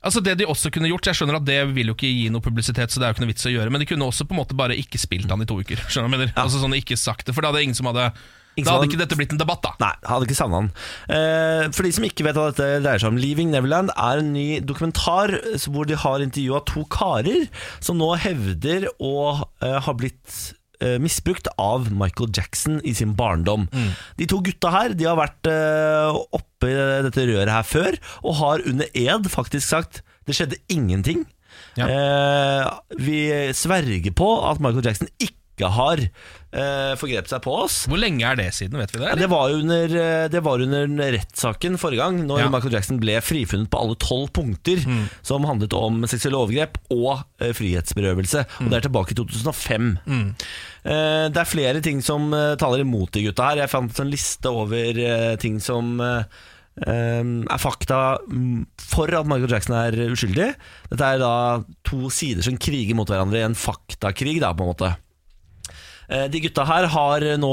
B: Altså Det de også kunne gjort Jeg skjønner at det vil jo ikke gi noe publisitet, så det er jo ikke noe vits å gjøre. Men de kunne også på en måte bare ikke spilt han i to uker. Skjønner du hva jeg mener? Altså sånn ikke sagt det For da hadde ingen som hadde
A: Ingen
B: Da
A: som
B: hadde
A: hadde-
B: ikke dette blitt en debatt, da.
A: Nei, hadde ikke savna han. Eh, for de som ikke vet hva dette dreier seg om, 'Leaving Neverland' er en ny dokumentar eh, hvor de har intervjua to karer som nå hevder å eh, ha blitt eh, Misbrukt av Michael Jackson i sin barndom.
B: Mm.
A: De to gutta her De har vært eh, oppe i dette røret her før og har under ed faktisk sagt det skjedde ingenting.
B: Ja.
A: Eh, vi sverger på at Michael Jackson ikke har eh, forgrepet seg på oss.
B: Hvor lenge er det siden, vet vi det?
A: Ja,
B: Eller?
A: Det var jo under, eh, det var under rettssaken forrige gang, når
B: Ja. Mm.
A: Michael Jackson ble frifunnet på alle tolv punkter som handlet om seksuelle overgrep og eh, frihetsberøvelse. Og Det er tilbake i 2005.
B: Mm.
A: Eh, det er flere ting som eh, taler imot de gutta her. Jeg fant en liste over eh, ting som eh, eh, er fakta mm, for at Michael Jackson er uskyldig. Dette er da to sider som kriger mot hverandre i en faktakrig, da, på en måte. Eh, De gutta her har nå,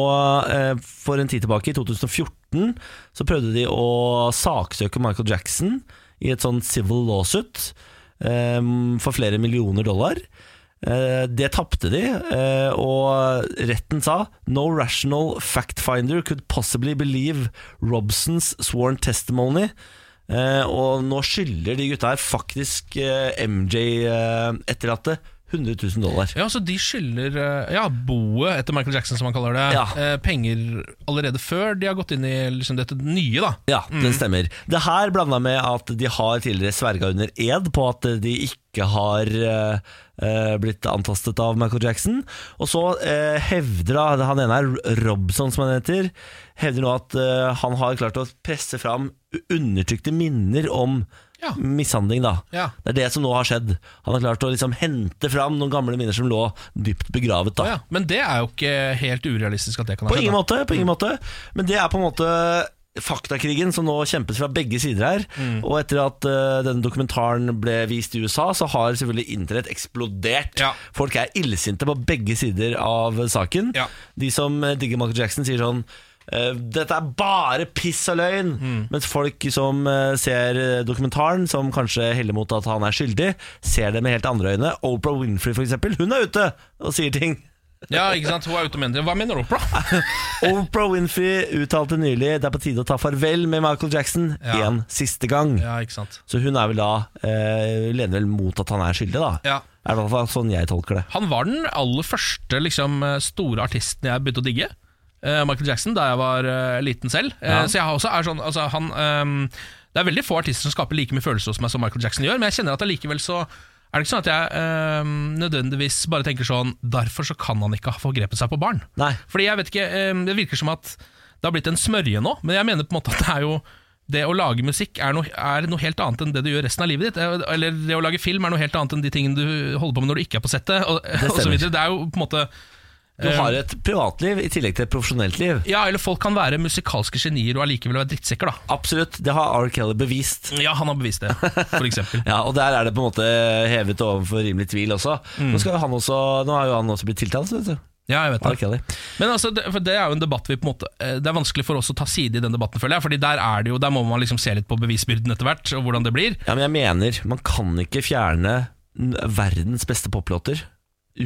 A: eh, for en tid tilbake, i 2014, så prøvde de å saksøke Michael Jackson i et sånn civil lawsuit eh, for flere millioner dollar. Eh, Det tapte de, eh, og retten sa No rational fact finder could possibly believe Robsons sworn testimony. Eh, Og nå skylder de gutta her faktisk eh, MJ eh, etterlatte 100 000 dollar.
B: Ja, så de skylder eh, Ja, boet, etter Michael Jackson, som han kaller det,
A: Ja.
B: eh, penger allerede før de har gått inn i liksom, dette nye, da.
A: Ja, det stemmer. Det her blanda med at de har tidligere sverga under ed på at de ikke har eh, eh, blitt antastet av Michael Jackson. Og så eh, hevder da, han ene er Robson, som han heter, hevder nå at eh, han har klart å presse fram undertrykte minner om
B: Ja.
A: mishandling, da.
B: Ja.
A: Det er det som nå har skjedd. Han har klart å liksom hente fram noen gamle minner som lå dypt begravet, da.
B: Å ja. Men det er jo ikke helt urealistisk at det kan ha
A: På ingen
B: skjedd. da. Mm.
A: måte, på ingen måte. Men det er på en måte faktakrigen som nå kjempes fra begge sider her.
B: Mm.
A: Og etter at eh, denne dokumentaren ble vist i USA, så har selvfølgelig internett eksplodert.
B: Ja.
A: Folk er illsinte på begge sider av saken.
B: Ja.
A: De som eh, digger Michael Jackson, sier sånn eh, dette er bare piss og løgn!
B: Mm.
A: Mens folk som eh, ser eh, dokumentaren, som kanskje heller mot at han er skyldig, ser det med helt andre øyne. Oprah Winfrey, for eksempel, hun er ute og sier ting.
B: Ja, ikke sant? Hun er ute og mener det. Hva mener Opera?
A: Oprah Winfrey uttalte nylig det er på tide å ta farvel med Michael Jackson
B: Ja.
A: en siste gang.
B: Ja, ikke sant.
A: Så hun er vel da eh, lener vel mot at han er skyldig, da.
B: Ja.
A: Er i hvert fall sånn jeg tolker det.
B: Han var den aller første liksom, store artisten jeg begynte å digge. eh, Michael Jackson, da jeg var eh, liten selv. Eh,
A: Ja.
B: Så jeg har også er sånn altså, han, ehm, Det er veldig få artister som skaper like mye følelser hos meg som Michael Jackson gjør, men jeg kjenner at allikevel så er det ikke sånn at jeg ehm, nødvendigvis bare tenker sånn Derfor så kan han ikke ha forgrepet seg på barn.
A: Nei.
B: Fordi jeg vet ikke, ehm, Det virker som at det har blitt en smørje nå, men jeg mener på en måte at det er jo det å lage musikk er noe, er noe helt annet enn det du gjør resten av livet ditt. eh, Eller det å lage film er noe helt annet enn de tingene du holder på med når du ikke er på settet. Og,
A: stemmer.
B: og så videre. det er jo på en måte Eh.
A: Du har et privatliv i tillegg til et profesjonelt liv.
B: Ja, eller folk kan være musikalske genier og allikevel være drittsekker, da.
A: Absolutt, det har R. Kelly bevist.
B: Ja, han har bevist det, for eksempel.
A: Ja, Og der er det på en måte hevet overfor rimelig tvil også. Nå, skal jo han også nå har jo han også blitt tiltalt, vet du.
B: Mm. Ja, jeg vet
A: R.
B: det.
A: Kelly.
B: Men altså, det, for det er jo en debatt vi på en måte eh, Det er vanskelig for oss å ta side i den debatten, føler jeg. Fordi der er det jo, der må man liksom se litt på bevisbyrden etter hvert, og hvordan det blir.
A: Ja, men jeg mener, man kan ikke fjerne n- verdens beste poplåter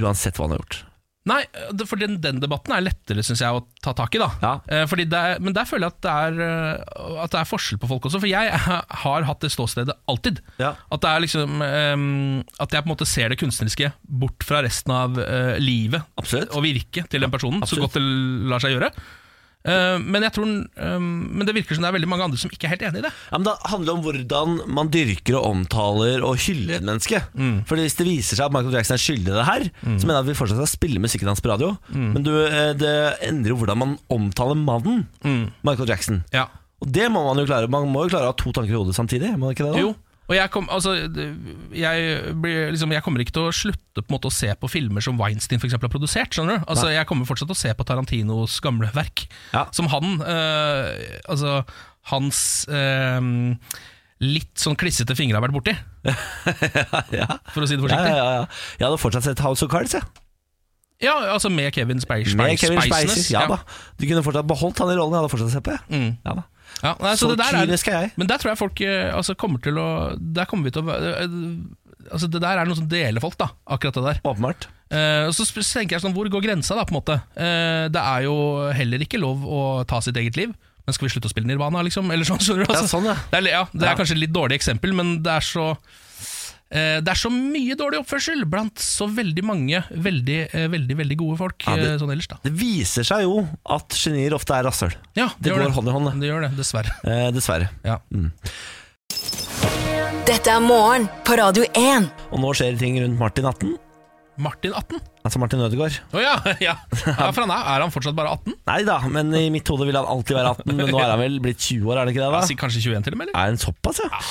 A: uansett hva han har gjort.
B: Nei, det- for den, den debatten er lettere, syns jeg, å ta tak i, da.
A: Ja.
B: Eh, Fordi det er, men der føler jeg at det, er, eh, at det er forskjell på folk også, for jeg har hatt det ståstedet alltid.
A: Ja.
B: At, det er liksom, eh, at jeg på en måte ser det kunstneriske bort fra resten av eh, livet
A: Absolutt.
B: og virket til den personen, så
A: Absolutt.
B: godt det lar seg gjøre. Eh, Men, jeg tror, eh, men det virker som det er veldig mange andre som ikke er helt enig i det.
A: Ja, men Det handler om hvordan man dyrker og omtaler og hyller et menneske.
B: Mm.
A: Fordi Hvis det viser seg at Michael Jackson er skyldig i det her, så mener jeg at vi fortsatt skal spille musikken hans på radio.
B: Mm.
A: Men du, eh, det endrer jo hvordan man omtaler mannen
B: Mm.
A: Michael Jackson.
B: Ja.
A: Og det må man jo klare. Man må jo klare å ha to tanker i hodet samtidig. Må man ikke det da?
B: Jo. Og jeg, kom, altså, det- jeg, blir, liksom, jeg kommer ikke til å slutte på en måte å se på filmer som Weinstein for eksempel, har produsert. skjønner du? Altså, jeg kommer fortsatt til å se på Tarantinos gamle verk.
A: Ja.
B: Som han eh, Altså, hans eh, litt sånn klissete fingre har vært borti,
A: ja.
B: for å si det
A: Ja, ja,
B: forsiktig. Ja,
A: ja, ja. Jeg hadde fortsatt sett House of Cards. jeg.
B: altså Med Kevin Spacey.
A: Med Kevin Spacey. Ja, da. Du kunne fortsatt beholdt han i rollen. Jeg hadde fortsatt sett på. jeg.
B: Mm.
A: Ja, da.
B: Ja, nei, så
A: Så
B: det der er,
A: kynisk er jeg.
B: Men der tror jeg folk eh, altså, kommer til å Der kommer vi til å være eh, Altså Det der er noe som deler folk, da akkurat det der.
A: Åpenbart.
B: Eh, og så sp- så tenker jeg sånn Hvor går grensa, da? på en måte Eh, Det er jo heller ikke lov å ta sitt eget liv. Men skal vi slutte å spille Nirvana, liksom? Eller sånn, skjønner du?
A: Ja,
B: Altså,
A: sånn, ja.
B: det er, li- ja, det er
A: Ja.
B: kanskje et litt dårlig eksempel, men det er så eh, det er så mye dårlig oppførsel blant så veldig mange veldig, eh, veldig veldig gode folk.
A: Ja, det-
B: eh, sånn ellers da
A: Det viser seg jo at genier ofte er rasshøl.
B: ja,
A: Det
B: gjør
A: går hånd i hånd, det.
B: Det gjør det, dessverre.
A: Eh, dessverre.
B: Ja.
D: Dette er morgen på Radio 1.
A: Og nå skjer det ting rundt Martin 18
B: Martin 18?
A: Altså Martin Ødegaard
B: Å ja, ja. ja for han er, er han fortsatt bare 18?
A: Nei da, men i mitt hode ville han alltid være 18 Men nå er han vel blitt 20 år, er det ikke det
B: Ja,
A: da?
B: si Kanskje 21 til og med, eller?
A: Er han såpass, ja?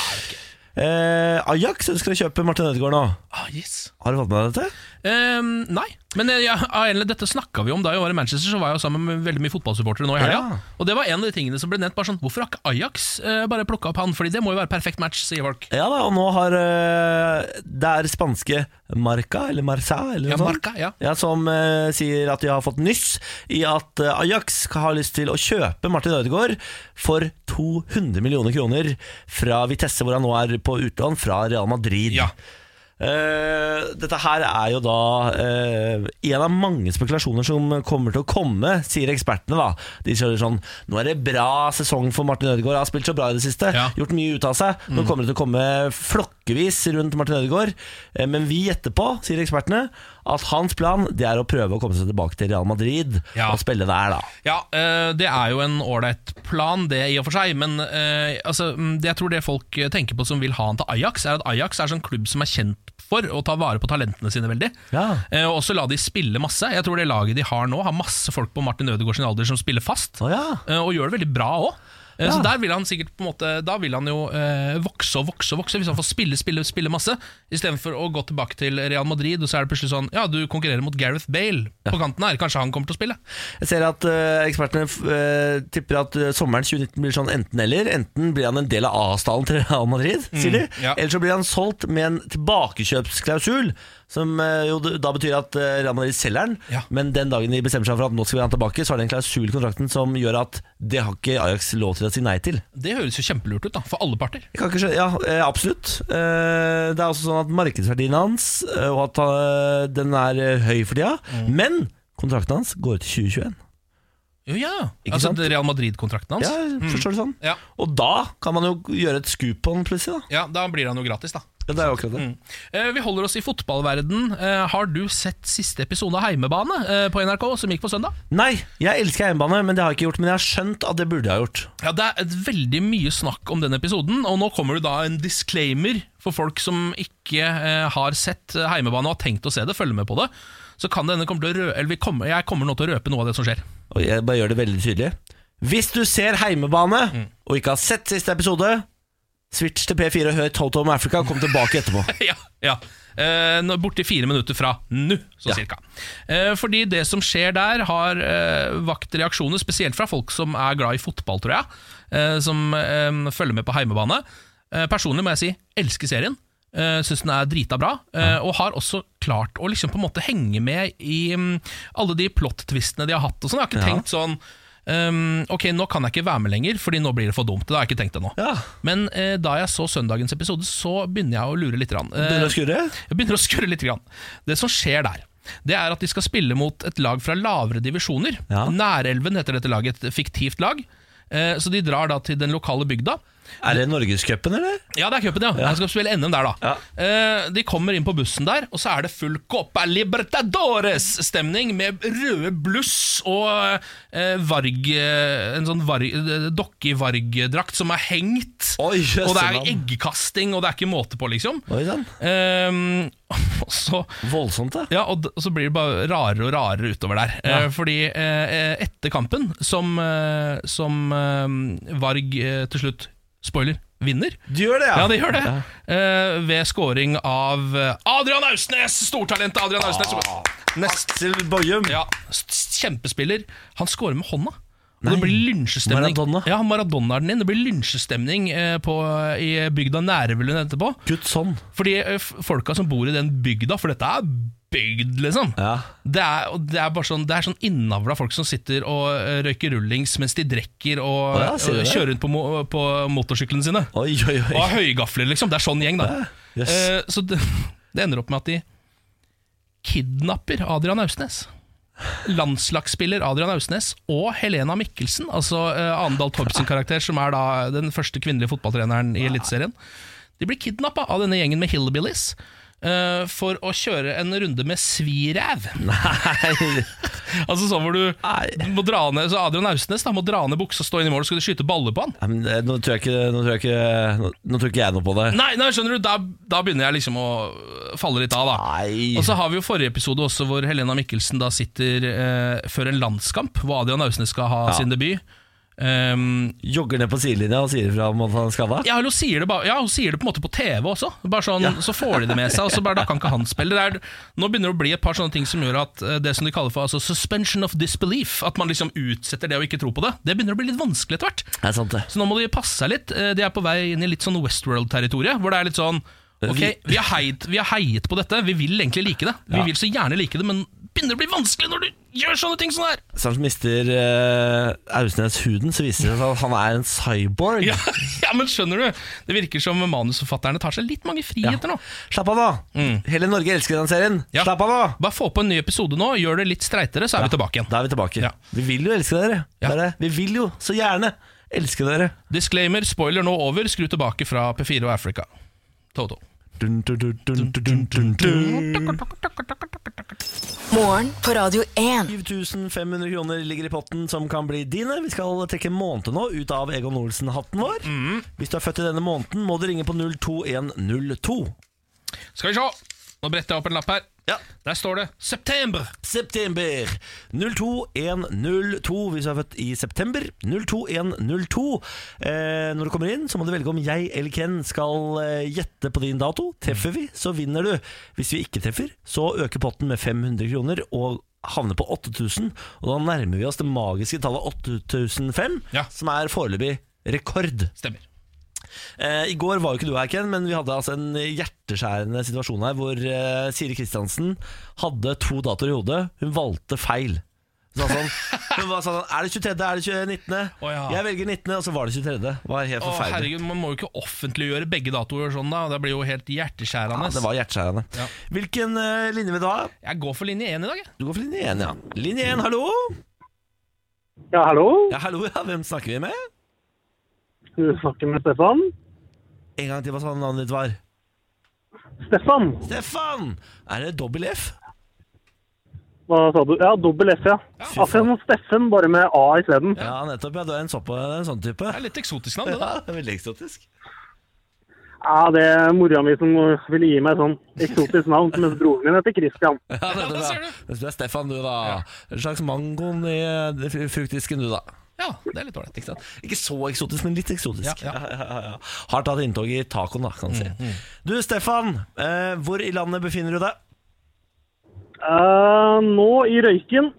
A: Eh, Ajax ønsker å kjøpe Martin Ødegaard nå
B: Ah, yes.
A: Har du fått med deg dette?
B: Ehm, nei, men jeg, jeg, av en eller annen- dette snakka vi om da jeg var i Manchester. Så var jeg jo sammen med veldig mye fotballsupportere nå i helga.
A: Ja.
B: Og det var en av de tingene som ble nevnt. Bare sånn, Hvorfor har ikke Ajax eh, bare plukka opp han? Fordi det må jo være perfekt match, sier folk.
A: Ja da, og nå har eh, det er spanske Marca, eller Marca eller
B: Ja,
A: noe sånt.
B: Marca, ja.
A: Ja, som eh, sier at de har fått nyss i at eh, Ajax har lyst til å kjøpe Martin Ødegaard for 200 millioner kroner fra Vitesse, hvor han nå er på utlån, fra Real Madrid.
B: Ja.
A: Eh, dette her er jo da eh, en av mange spekulasjoner som kommer til å komme, sier ekspertene. da De sier sånn Nå er det bra sesong for Martin Ødegaard, har spilt så bra i det siste.
B: Ja. Mm.
A: Gjort mye ut av seg. Nå kommer det til å komme flokker ukevis rundt Martin Ødegaard. Eh, Men vi gjetter på, sier ekspertene, at hans plan det er å prøve å komme seg tilbake til Real Madrid
B: Ja.
A: og spille der, da.
B: Ja, eh, det er jo en ålreit plan, det i og for seg. Men eh, altså, mm, det jeg tror det folk eh, tenker på som vil ha han til Ajax, er at Ajax er sånn klubb som er kjent for å ta vare på talentene sine veldig.
A: Ja.
B: Eh, Og også la de spille masse. Jeg tror det laget de har nå, har masse folk på Martin Ødegaard sin alder som spiller fast.
A: Å ja.
B: eh, Og gjør det veldig bra òg. Så der vil han sikkert på en måte Da vil han jo eh, vokse og vokse og vokse, hvis han får spille spille, spille masse. Istedenfor å gå tilbake til Real Madrid, og så er det plutselig sånn Ja, du konkurrerer mot Gareth Bale på kanten her, kanskje han kommer til å spille?
A: Jeg ser at eh, ekspertene f- eh, tipper at eh, sommeren 2019 blir sånn enten-eller. Enten blir han en del av A-stallen til Real Madrid, sier de.
B: Mm, ja.
A: Eller så blir han solgt med en tilbakekjøpsklausul, som eh, jo d- da betyr at eh, Real Madrid selger den.
B: Ja.
A: Men den dagen de bestemmer seg for at nå skal vi ha han tilbake, så er det en klausul i kontrakten som gjør at det har ikke Ajax lov til å si nei til.
B: Det høres jo kjempelurt ut, da, for alle parter.
A: Jeg kan ikke skjønne, ja, eh, absolutt. Eh, Det er også sånn at markedsverdien hans, eh, og at eh, den er eh, høy for tida, men kontrakten hans går ut i 2021.
B: Jo, ja.
A: Ikke
B: altså
A: sant?
B: Real Madrid-kontrakten hans.
A: Ja, forstår du sånn?
B: Mm. Ja.
A: Og da kan man jo gjøre et scoop på den plutselig, da.
B: Ja, Da blir han jo gratis, da.
A: Ja, det er jo akkurat det.
B: Eh, vi holder oss i fotballverden. Eh, har du sett siste episode av Heimebane eh, på NRK, som gikk på søndag?
A: Nei, jeg elsker hjemmebane, men det har jeg ikke gjort. Men jeg har skjønt at det burde jeg ha gjort.
B: Ja, Det er et veldig mye snakk om den episoden, og nå kommer det da en disclaimer for folk som ikke eh, har sett eh, Heimebane og har tenkt å se det, følge med på det. Så kan det hende kommer til å rø eller vi kommer, jeg kommer nå til å røpe noe av det som skjer.
A: Og jeg bare gjør det veldig tydelig. Hvis du ser heimebane og ikke har sett siste episode, switch til P4 og hør Toto om Africa, og kom tilbake etterpå.
B: ja, ja. Eh, nå- borti fire minutter fra nå, så
A: Ja.
B: cirka. Eh, fordi det som skjer der, har eh, vakt reaksjoner, spesielt fra folk som er glad i fotball, tror jeg. Eh, som eh, følger med på heimebane. Eh, personlig må jeg si elsker serien. Uh, Syns den er drita bra, eh, og har også klart å liksom på en måte henge med i mm, alle de plot-twistene de har hatt. Og sånn. jeg har ikke tenkt sånn ehm, Ok, nå kan jeg ikke være med lenger, Fordi nå blir det for dumt. Det har jeg ikke tenkt ennå.
A: Ja.
B: Men eh, da jeg så søndagens episode, så begynner jeg å lure litt. Grann. Eh,
A: Begynner å skurre?
B: jeg begynner å skurre litt. Grann. Det som skjer der, det er at de skal spille mot et lag fra lavere divisjoner.
A: Ja.
B: Nærelven heter dette laget, et fiktivt lag. Eh, Så de drar da til den lokale bygda.
A: Er det Norgescupen, eller?
B: Ja, det er cupen, ja. De skal spille NM der, da. Eh, De kommer inn på bussen der, og så er det full Copa Libertadores-stemning med røde bluss og eh, varg, eh, en sånn varg, eh, dokke i vargdrakt som er hengt.
A: Oi,
B: og det er
A: jøssenavn.
B: eggkasting, og det er ikke måte på, liksom.
A: Oi sann.
B: Ehm, og så
A: Voldsomt, det.
B: ja, og, d- og så blir det bare rarere og rarere utover der. Eh, fordi eh, etter kampen, som, eh, som eh, Varg eh, til slutt Spoiler vinner.
A: Du gjør det,
B: Ja, det gjør det. Eh, ved scoring av eh, Adrian Ausnes! Stortalentet Adrian Ausnes.
A: Neste Boyum.
B: Ja, s- s- Kjempespiller. Han scorer med hånda. Og det blir lynsjestemning.
A: Maradona.
B: Ja, Maradona er den inn. Det blir lynsjestemning eh, på, i bygda Nærevelen etterpå.
A: Gutt sånn.
B: Fordi eh, f- folka som bor i den bygda, for dette er bygd, liksom.
A: Ja.
B: Det er, og det er bare sånn Det er sånn innavla folk som sitter og eh, røyker rullings mens de drikker
A: Å
B: og,
A: ja, sier du
B: og
A: det?
B: kjører rundt på, mo på motorsyklene sine.
A: Oi, oi,
B: Og
A: oi.
B: har høygafler, liksom. Det er sånn gjeng, da.
A: Jøss.
B: Eh, så det, det ender opp med at de kidnapper Adrian Ausnes. Landslagsspiller Adrian Ausnes og Helena Mikkelsen, altså eh, Anedal Torp sin karakter, som er da den første kvinnelige fotballtreneren i Eliteserien. De blir kidnappa av denne gjengen med hillbillies. eh, for å kjøre en runde med sviræv.
A: Nei.
B: Altså sånn hvor du
A: Nei.
B: må dra ned Så Adrian Ausnes da må dra ned buksa, stå inn i mål, så skal du skyte baller på han.
A: Nei, men, eh, Nå tror jeg ikke Nå tror jeg ikke, nå- nå tror ikke jeg noe på det.
B: Nei, nei, skjønner du, da, da begynner jeg liksom å falle litt av, da.
A: Nei.
B: Og så har vi jo forrige episode også hvor Helena Mikkelsen da sitter eh, før en landskamp, hvor Adrian Ausnes skal ha sin debut. Ehm,
A: jogger ned på sidelinja og sier ifra om at han er skada?
B: ja, eller hun sier, det ba, ja, hun sier det på en måte på TV også. Bare sånn, Så får de det med seg, og så bare da kan ikke han spille. Det er, nå begynner det å bli et par sånne ting som gjør at eh, det som de kaller for altså, suspension of disbelief, at man liksom utsetter det og ikke tror på det, det begynner å bli litt vanskelig etter hvert.
A: Det er sant, det.
B: Så nå må de passe seg litt. Eh, De er på vei inn i litt sånn Westworld-territoriet, hvor det er litt sånn Ok, vi har, heiet, vi har heiet på dette, vi vil egentlig like det. Vi
A: Ja.
B: vil så gjerne like det, men begynner det å bli vanskelig når du gjør sånne ting som det her!
A: Snart Sånn som mister eh, Ausnes huden, så viser det seg at han er en cyborg.
B: Ja, ja, men skjønner du? Det virker som manusforfatterne tar seg litt mange friheter nå.
A: Slapp av, da! Hele Norge elsker den serien.
B: Mm. Ja.
A: Slapp av, da!
B: Bare få på en ny episode nå, gjør det litt streitere, så er vi tilbake igjen.
A: Da er vi tilbake.
B: Ja.
A: Vi vil jo elske dere.
B: Ja.
A: Det er det. Vi vil jo så gjerne elske dere.
B: Disclaimer, spoiler nå over, skru tilbake fra P4 og Africa. Toto.
A: Dun, dun, dun, dun, dun, dun, dun.
D: Morgen på Radio 1.
A: 7500 kroner ligger i potten som kan bli dine. Vi skal trekke en måned nå ut av Egon Olsen-hatten vår. Hvis du er født i denne måneden, må du ringe på 02102.
B: Skal vi se. Nå bretter jeg opp en lapp her.
A: Ja.
B: Der står det 'September'.
A: September 02102 hvis du er født i september. 02102. Eh, når du kommer inn, så må du velge om jeg eller Ken skal eh, gjette på din dato. Treffer vi, så vinner du. Hvis vi ikke treffer, så øker potten med 500 kroner og havner på 8000. Og da nærmer vi oss det magiske tallet 8005,
B: Ja.
A: som er foreløpig rekord.
B: Stemmer.
A: Eh, I går var jo ikke du her, Ken, men vi hadde altså en hjerteskjærende situasjon her hvor eh, Siri Kristiansen hadde to datoer i hodet. Hun valgte feil. Så var sånn, hun var sånn Er det 23., er det 20 19.?
B: Å ja.
A: Jeg velger 19., og så var det 23. Det var helt
B: Å,
A: forferdelig.
B: herregud, Man må jo ikke offentliggjøre begge datoer sånn, da. Det blir jo helt
A: ja,
B: hjerteskjærende.
A: det var hjerteskjærende.
B: Ja.
A: Hvilken eh, linje vil du ha?
B: Jeg går for linje én i dag, jeg.
A: Du går for linje 1, ja. Linje 1, hallo?
F: Ja, hallo.
A: Ja, hallo, ja. Hvem snakker vi med?
F: Du snakker med Stefan.
A: En gang til, hva sa navnet ditt var?
F: Stefan,
A: Stefan! Er det dobbel F?
F: hva sa du? Ja, dobbel F, ja.
A: fy
F: Akkurat som Steffen, bare med A isteden.
A: Ja, nettopp. ja, Du er en, såpa, en sånn type.
B: Det er litt eksotisk navn, det. da
A: Ja, veldig eksotisk.
F: Ja, det er mora mi som ville gi meg sånn eksotisk navn, mens broren min heter Christian.
A: Ja, det,
B: da
A: det,
B: ser
A: det,
B: du.
A: Mens du er Stefan, du, da. En slags mangoen i eh, fru- fruktdisken, du, da.
B: Ja, det er litt ålreit.
A: Ikke, sant? ikke så eksotisk, men litt eksotisk.
B: Ja, ja.
A: ja, ja. Har tatt inntog i tacoen, da, kan du si. Du, Stefan. Eh, hvor i landet befinner du deg?
F: Eh, nå i Røyken,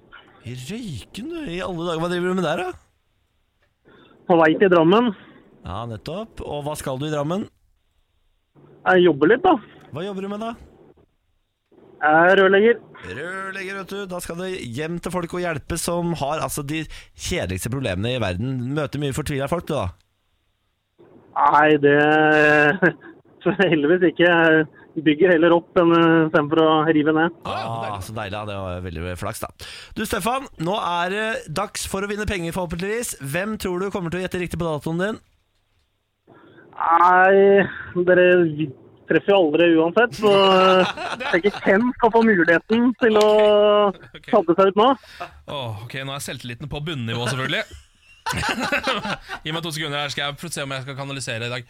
A: I Røyken, du. I alle dager. Hva driver du med der, da?
F: på vei til Drammen.
A: Ja, nettopp. Og hva skal du i Drammen?
F: Jeg jobber litt, da.
A: Hva jobber du med, da?
F: Jeg er rørlegger.
A: Rørlegger, vet du. Da skal det hjem til folk og hjelpe som har altså de kjedeligste problemene i verden. Møter mye fortvila folk, du, da.
F: Nei, det så Heldigvis ikke. Jeg bygger heller opp enn eh, istedenfor å rive ned.
A: Ah, så deilig, ja. Det var veldig flaks, da. Du, Stefan. Nå er det dags for å vinne penger, forhåpentligvis. Hvem tror du kommer til å gjette riktig på datoen din?
F: Nei, dere treffer jo aldri uansett, så jeg tenker Ken skal få muligheten til å tabbe seg ut nå.
B: Åh, ok, Nå er selvtilliten på bunnivå, selvfølgelig. Gi meg to sekunder her, skal jeg prøve å se om jeg skal kanalisere i dag.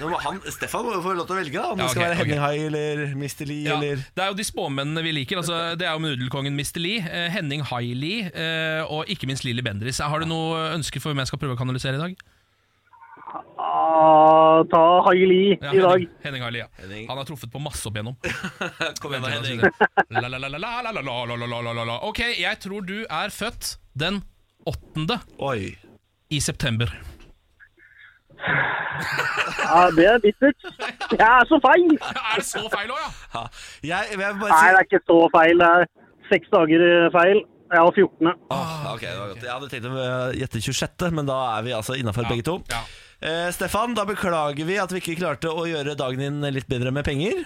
A: Nå må han, Stefan må jo få lov til å velge, da. Om
B: Ja,
A: det skal
B: ok,
A: være
B: ok.
A: Henning Hai eller Mr. Lee
B: Ja,
A: eller
B: det er jo de spåmennene vi liker. Altså, det er jo Nudelkongen Mr. Lee, eh, Henning Hailey eh, og ikke minst Lilly Bendriss. Har du noe ønske for hvem jeg skal prøve å kanalisere i dag?
F: Ah, ta Haili
B: Ja,
F: i dag.
B: Henning, Henning Hailey, ja.
A: Henning.
B: Han har truffet på masse opp igjennom.
A: Kom
B: Vent litt, la, la, la, la, la, la, la, la, la, la, la, la. Ok, jeg tror du er født den 8.
A: Oi.
B: i september.
F: Ja, det er bittert. Jeg er så feil! Nei,
B: Er det så feil òg, ja?
A: Ja. Jeg, jeg vil bare si
F: det er ikke så feil. Det er seks dager feil. Jeg var 14.
A: Ah, ok, det var godt. Jeg hadde tenkt å eh, gjette 26., men da er vi altså innafor begge to.
B: ja.
A: Eh, Stefan, da beklager vi at vi ikke klarte å gjøre dagen din litt bedre med penger.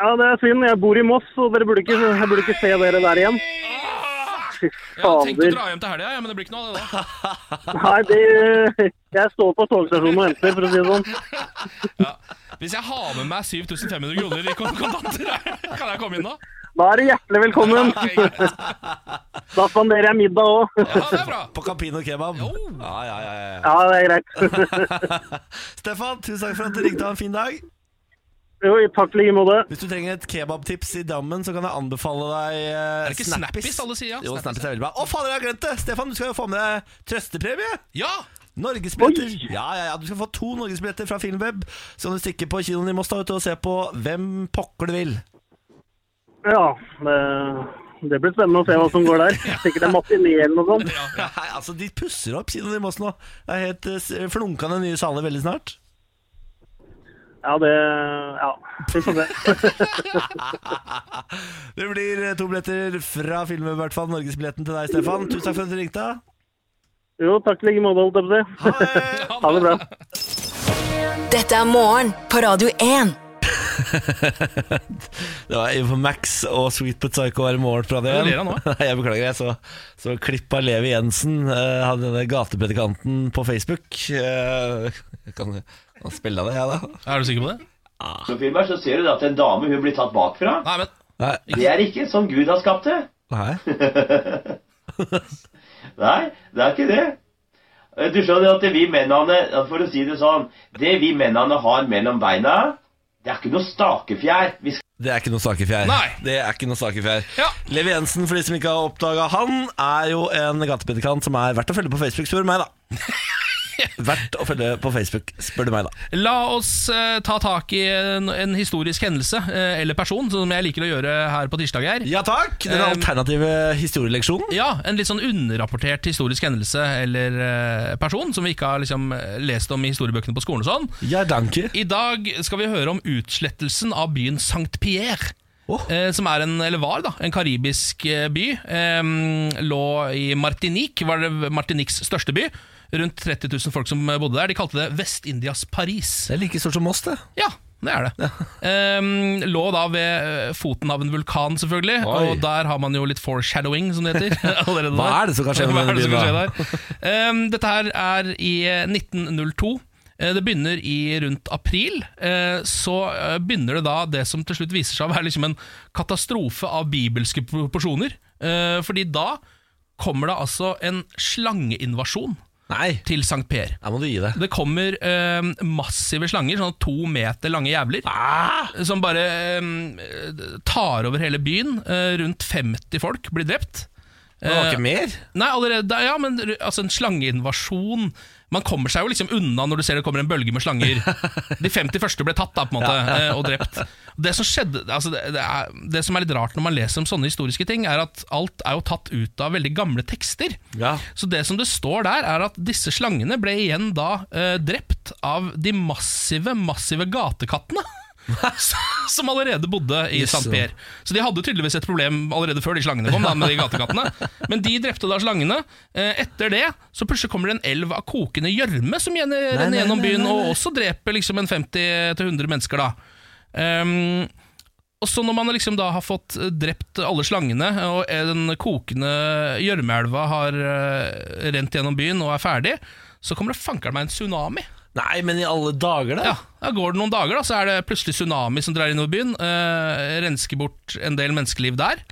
F: Ja, det er synd. Jeg bor i Moss, og dere burde ikke, jeg burde ikke se dere der igjen. Fy
B: Ja, Tenk å
F: fader.
B: dra hjem til helga, ja, men det blir ikke noe av det da.
F: Nei, det, jeg står på togstasjonen og venter, for å si det sånn.
B: Ja. Hvis jeg har med meg 7500 kroner i kon- kontanter, kan jeg komme inn da?
F: Da er du hjertelig velkommen.
B: Ok, greit.
F: Da spanderer jeg middag òg.
B: Ja, det er bra.
A: På Campino kebab.
B: Jo.
A: Ja, ja, ja, ja.
F: Ja, det er greit.
A: Stefan, tusen takk for at du ringte. Ha en fin dag.
F: Jo, takk i like måte.
A: Hvis du trenger et kebabtips i Drammen, så kan jeg anbefale deg eh,
B: Er det ikke Snappis alle sier? Ja,
A: Jo, Snappis er veldig bra. Å, fader, jeg har glemt det! Stefan, du skal jo få med deg trøstepremie!
B: Ja!
A: Norgesbilletter. Ja, ja, ja, du skal få to norgesbilletter fra Filmweb. Så kan du stikke på kinoen i Moss da, vet du, og se på hvem pokker du vil.
F: Ja, det, det blir spennende å se hva som går der. Sikkert en matiné eller noe sånt.
B: ja, ja.
A: Nei, altså, de pusser opp kinoen i Moss nå. Det er helt eh, s- flunkende nye saler veldig snart.
F: Ja, det Ja, vi får se.
A: Det blir eh, to billetter fra Filmweb, i hvert fall. Norgesbilletten til deg, Stefan. Tusen takk for at du ringte.
F: Jo, takk i like måte, holdt jeg på å si.
A: Ha det!
F: Ha det bra.
D: Dette er morgen på Radio 1.
A: Det var Eva Max og Sweet But Psycho her i morgen på Radio
B: Ja,
A: 1.
B: ler han nå?
A: Nei, jeg beklager, jeg så, så klipp av Levi Jensen, eh, han denne gatepredikanten på Facebook. Eh, kan, Og spilla det, jeg, da.
B: Er du sikker på det?
G: Som filmer så ser du at en dame hun blir tatt bakfra.
B: Nei, men
A: Nei.
G: Det er ikke som Gud har skapt det.
A: Nei.
G: Nei, det er ikke det. Du skjønner at vi mennene, for å si det sånn, det vi mennene har mellom beina, det er ikke noe stakefjær. Vi
A: Det er ikke noe stakefjær.
B: Nei.
A: Det er ikke noe stakefjær.
B: Ja.
A: Levi Jensen, for de som ikke har oppdaga han, er jo en gatepredikant som er verdt å følge på Facebook, spør du meg, da. verdt å følge på Facebook, spør du meg, da.
B: La oss eh, ta tak i en, en historisk hendelse eh, eller person, som jeg liker å gjøre her på tirsdag her.
A: Ja takk! Den
B: Um,
A: alternative historieleksjonen.
B: Ja, en litt sånn underrapportert historisk hendelse eller eh, person, som vi ikke har liksom, lest om i historiebøkene på skolen og sånn.
A: Ja, danke.
B: I dag skal vi høre om utslettelsen av byen St. Pierre.
A: Åh.
B: Eh, som er en, eller var da, en karibisk eh, by. Eh, lå i Martinique, var det Martiniques største by. Rundt 30 000 folk som bodde der. De kalte det Vest-Indias Paris.
A: Det er like stort som oss, det.
B: Ja, det er det. Ehm, lå da ved eh, foten av en vulkan, selvfølgelig.
A: Oi.
B: Og der har man jo litt foreshadowing, som det heter. allerede
A: Hva
B: der.
A: er det som kan skje med
B: Hva er
A: denne
B: det som
A: byen
B: kan
A: da?
B: skje der? Ehm, dette her er i eh, 1902. Eh, Det begynner i rundt april. Eh, Så eh, begynner det da det som til slutt viser seg å være liksom en katastrofe av bibelske proporsjoner. Eh, Fordi da kommer det altså en slangeinvasjon
A: Nei,
B: til St. Per.
A: her må du gi deg.
B: Det kommer eh, massive slanger, sånn to meter lange jævler, som bare eh, tar over hele byen. Eh, rundt 50 folk blir drept.
A: Det var
B: Eh,
A: ikke mer?
B: Nei, allerede, ja, men ru- altså en slangeinvasjon Man kommer seg jo liksom unna når du ser det kommer en bølge med slanger. De 50 første ble tatt da, på en måte, eh, og drept. Det som skjedde, altså det, det, er, det som er litt rart når man leser om sånne historiske ting, er at alt er jo tatt ut av veldig gamle tekster.
A: Ja.
B: Så det som det står der, er at disse slangene ble igjen da eh, drept av de massive, massive gatekattene. Som allerede bodde i
A: Jøsse.
B: St. Per. Så de hadde tydeligvis et problem allerede før de slangene kom. Da, med de gatekattene Men de drepte da slangene. Eh, Etter det så plutselig kommer det en elv av kokende gjørme som gjen- renner
A: nei,
B: gjennom
A: nei,
B: byen,
A: nei, nei.
B: og også dreper liksom en 50-100 mennesker. da Ehm, og så når man liksom da har fått eh, drept alle slangene, og eh, den kokende gjørmeelva har eh, rent gjennom byen og er ferdig, så kommer det fanker meg en tsunami.
A: Nei, men i alle dager, da.
B: Ja, Da går det noen dager, da, så er det plutselig tsunami som drar innover byen. eh, rensker bort en del menneskeliv der.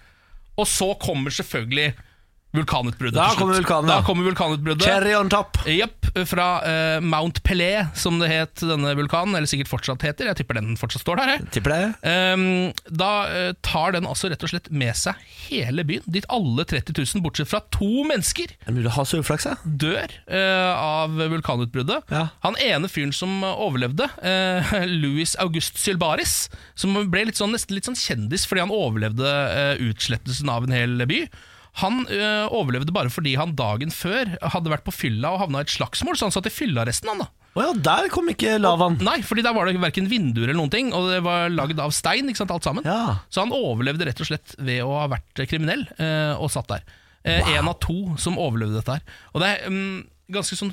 B: Og så kommer selvfølgelig vulkanutbruddet.
A: Da
B: til slutt.
A: kommer vulkanen,
B: da
A: ja.
B: kommer vulkanutbruddet.
A: Cherry on top.
B: Jepp, fra eh, Mount Pelé, som det het denne vulkanen. Eller sikkert fortsatt heter. Jeg tipper den fortsatt står der. Jeg.
A: Tipper det.
B: Ehm, da eh, tar den altså rett og slett med seg hele byen, dit alle 30 000, bortsett fra to mennesker,
A: Det er mulig å ha så uflaks, ja.
B: dør eh, av vulkanutbruddet.
A: Ja.
B: Han ene fyren som overlevde, eh, Louis August Sylbaris, som ble litt sånn, nesten litt sånn kjendis fordi han overlevde eh, utslettelsen av en hel by. Han eh, overlevde bare fordi han dagen før hadde vært på fylla og havna i et slagsmål, så han satt i fyllearresten, han da.
A: Å ja, der kom ikke lavaen.
B: Nei, fordi der var det verken vinduer eller noen ting, og det var lagd av stein, ikke sant, alt sammen.
A: Ja.
B: Så han overlevde rett og slett ved å ha vært kriminell eh, og satt der. Eh, En av to som overlevde dette her. Og det er mm, ganske sånn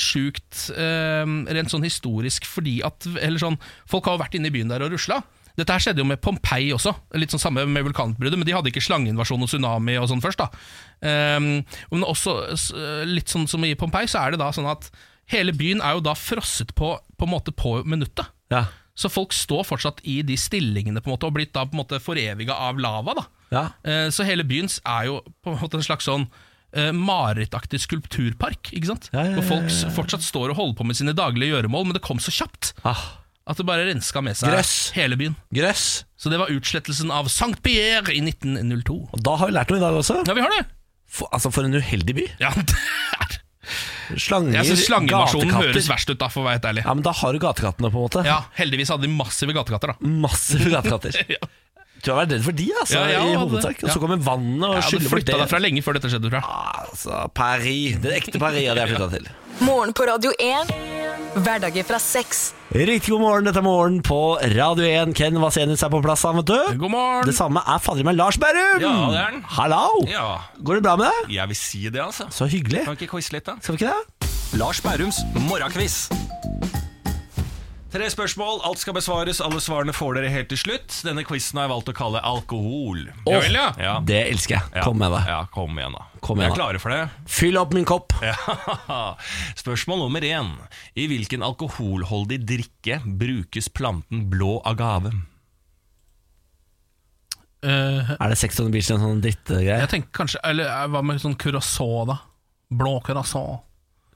B: sjukt, eh, rent sånn historisk, fordi at eller sånn, folk har jo vært inne i byen der og rusla. Dette her skjedde jo med Pompeii også, litt sånn samme med vulkanutbruddet, men de hadde ikke slangeinvasjon og tsunami og sånn først. da. Ehm, men også s- litt sånn som i Pompeii, så er det da sånn at hele byen er jo da frosset på, på en måte på minuttet.
A: Ja.
B: Så folk står fortsatt i de stillingene på en måte, og blitt da på en måte foreviga av lava. da.
A: Ja.
B: Eh, Så hele byen er jo på en måte en slags sånn eh, marerittaktig skulpturpark. ikke sant?
A: Ja, ja, ja,
B: Hvor folk s- fortsatt står og holder på med sine daglige gjøremål, men det kom så kjapt
A: Ah.
B: at det bare renska med seg
A: Gress.
B: hele byen.
A: Grøss.
B: Så det var utslettelsen av St. Pierre i 1902.
A: Og da har vi lært noe i dag også.
B: Ja, vi har det!
A: For, altså, for en uheldig by.
B: Ja, det er.
A: Slanger,
B: Jeg synes Slangeinvasjonen
A: gatekatter.
B: høres verst ut, da, for å være helt ærlig.
A: Ja, men da har du gatekattene, på en måte.
B: Ja, Heldigvis hadde de massive gatekatter, da.
A: Massive gatekatter.
B: Ja.
A: Du har vært redd for de, altså,
B: Ja, ja,
A: i
B: og det-
A: hovedsak. Og
B: ja.
A: så kommer vannet og
B: Jeg hadde
A: skyller bort
B: flytta
A: det.
B: derfra lenge før dette skjedde, tror jeg.
A: Altså, Paris. Det ekte Paris hadde jeg flytta til.
D: Morgen på Radio 1. Hverdager fra seks.
A: Riktig god morgen, dette er morgen på Radio 1. Ken Vasenius er på plass, han, vet du.
B: God morgen!
A: Det samme er fader meg Lars Berrum!
H: Ja, det er han.
A: Hallo!
H: Ja,
A: Går det bra med deg?
H: jeg vil si det, altså.
A: Så hyggelig.
H: Kan vi ikke quize litt, da?
A: Skal vi ikke det?
H: Lars Bærums morgenkviss. Tre spørsmål, alt skal besvares, alle svarene får dere helt til slutt. Denne quizen har jeg valgt å kalle alkohol.
B: Ja vel, ja.
H: Ja.
A: Det elsker jeg. Kom med det.
H: Ja, kom igjen, da.
A: Kom igjen,
H: Jeg er
A: da.
H: klare for det.
A: Fyll opp min kopp.
H: Ja. Spørsmål nummer én. I hvilken alkoholholdig drikke brukes planten blå agave?
B: Eh,
A: Er det 600 Beach en sånn drittgreie?
B: jeg tenker kanskje Eller eh, hva med sånn curacao, da? Blå curacao.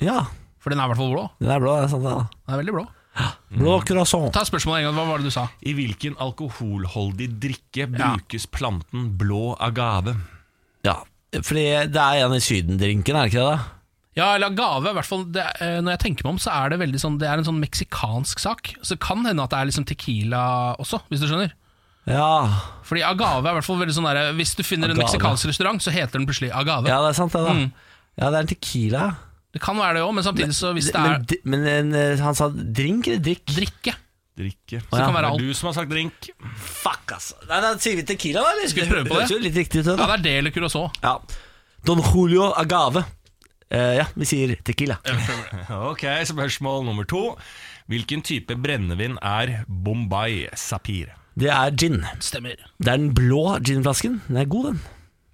A: Ja,
B: For den er i hvert fall blå.
A: den er blå. Det er sant, det, da.
B: Den er veldig blå.
H: Mm.
A: Blå croissant.
B: Ta spørsmålet en gang. Hva var det du sa?
H: I hvilken alkoholholdig
B: Ja.
H: drikke brukes planten blå agave?
A: Ja, fordi det er en i Syden-drinken, er det ikke det? da?
B: Ja, eller agave. i hvert fall det, eh, Når jeg tenker meg om, så er det veldig sånn Det er en sånn meksikansk sak. Så det kan hende at det er liksom tequila også, hvis du skjønner.
A: Ja,
B: Fordi agave er i hvert fall veldig sånn der, Hvis du finner en
A: Agave.
B: meksikansk restaurant, så heter den plutselig agave.
A: ja det er sant, det, da.
B: Mm.
A: Ja, det er en tequila. ja.
B: Det kan være det òg, men samtidig så hvis det er
A: Men, di- men en, eh, han sa drink eller drikk?
B: drikke
H: Drikke.
B: Så det
A: ja,
B: kan være
H: Det er
B: alt.
H: du som har sagt drink.
A: Fuck, altså. Nei, da sier vi tequila, da? eller?
B: Skal vi prøve på det?
A: høres jo litt riktig ut, det,
B: Ja,
A: da.
B: det er det eller curacao.
A: Ja. Don Julio Agave. Eh, ja, vi sier tequila.
H: Ok, Spørsmål nummer to. Hvilken type brennevin er Bombay Sapir?
A: Det er gin.
B: Stemmer.
A: Det er den blå ginflasken. Den er god, den.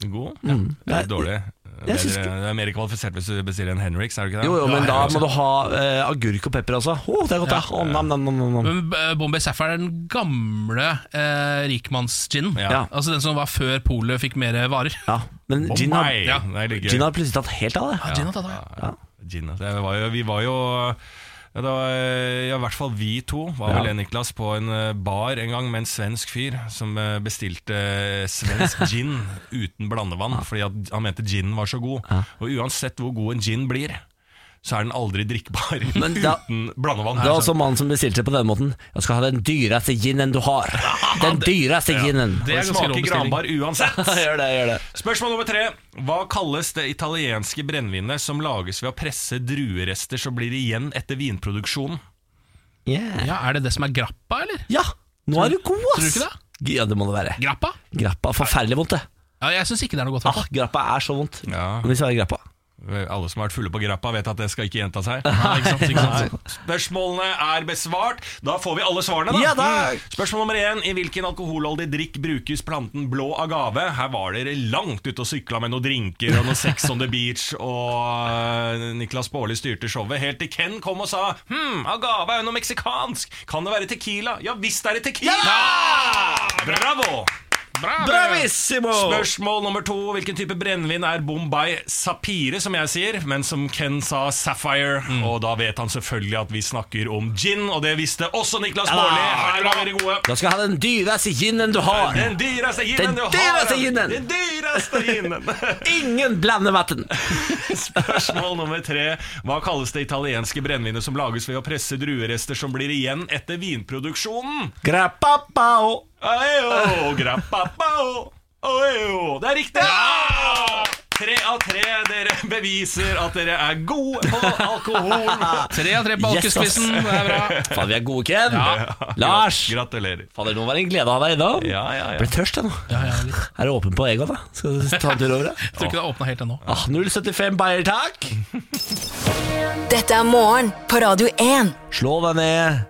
A: Mm.
H: God? Ja. Det er
A: Nei,
H: dårlig. Det
A: jeg
H: er,
A: syns ikke-
H: det er mer kvalifisert hvis du bestiller en Henriks, er det ikke det?
A: Jo, jo, men
H: Ja,
A: da
H: ja,
A: må du ha eh, agurk og pepper også. Å, det er godt, ja. Å, nam, nam, nam, nam, nam.
B: Men eh, Bombay Sapphire er den gamle eh, rikmannsginen.
H: Ja.
B: Altså den som var før polet fikk mer varer.
A: Ja, men
H: Bombay.
A: gin har,
H: Ja, det er litt gøy.
A: gin har plutselig tatt helt av, det.
B: Ah, gin har tatt av, ja.
H: Oh Ja, gin, altså. Det var jo, vi var jo ja, det var, ja, I hvert fall vi to var vel Niklas på en eh, bar en gang med en svensk fyr som eh, bestilte eh, svensk gin uten blandevann fordi at han mente ginen var så god. Og uansett hvor god en gin blir, så er den aldri drikkbar
A: Men da-
H: uten blandevann.
A: Det var også mannen som bestilte på denne måten. Jeg skal ha den dyreste ginen du har. Den dyreste ginen.
B: Det
H: det
B: er ganske rå
H: smaker
B: bestilling.
H: granbar uansett.
A: gjør det, gjør det.
H: Spørsmål nummer tre. Hva kalles det italienske brennevinet som lages ved å presse druerester som blir igjen etter vinproduksjon?
A: Yeah.
B: Ja, Er det det som er grappa, eller?
A: Ja, nå er du god, ass.
B: Tror du ikke det?
A: Ja, det må det være.
B: Grappa?
A: Grappa er forferdelig vondt, det.
B: Ja, Jeg syns ikke det er noe godt. i hvert
A: Ah, grappa er så vondt.
H: Ja.
A: Om vi svarer grappa.
H: Alle som har vært fulle på grappa, vet at det skal ikke gjenta seg. Ikke sant? Ikke sant? Spørsmålene er besvart. Da får vi alle svarene, da.
A: Ja, da.
H: Mm. Spørsmål nummer én. I hvilken alkoholholdig drikk brukes planten blå agave? Her var dere langt ute og sykla med noen drinker og noe sex on the beach, og eh, Niklas Baarli styrte showet helt til Ken kom og sa Hm, agave er jo noe meksikansk. Kan det være tequila? Ja visst er det tequila! Bravo!
B: fall. Bra,
A: Bravissimo!
H: Spørsmål nummer to. Hvilken type brennevin er Bombay Sapire, som jeg sier, men som Ken sa Sapphire?
A: Mm.
H: Og da vet han selvfølgelig at vi snakker om gin, og det visste også Niklas
A: Ja da.
H: Baarli. Her var dere gode.
A: Da skal jeg ha den dyreste ginen du har.
H: Den dyreste ginen
A: Den
H: du har.
A: dyreste ginen.
H: Den dyreste ginen.
A: Ingen blandevann.
H: Spørsmål nummer tre. Hva kalles det italienske brennevinet som lages ved å presse druerester som blir igjen etter vinproduksjonen?
A: Grappapao.
H: Aeo, grappapao, aeo. Det er riktig! Tre av tre dere beviser at dere er gode på alkohol.
B: Tre av tre
A: Yes,
B: på
A: ass.
B: alkeskvissen. det er bra.
A: Faen, vi er gode, Ken. Lars.
H: Gratulerer.
A: Fader, nå var det en glede å ha deg innom.
H: Ja, ja, ja.
A: Ble tørst, jeg nå.
B: Ja, ja, litt.
A: Er du åpen på Egon, da? Skal du ta en tur over?
B: Jeg tror ikke det har åpna helt ennå.
A: Ah, 075 Bayer, takk.
D: Dette er morgen på Radio 1.
A: Slå deg ned.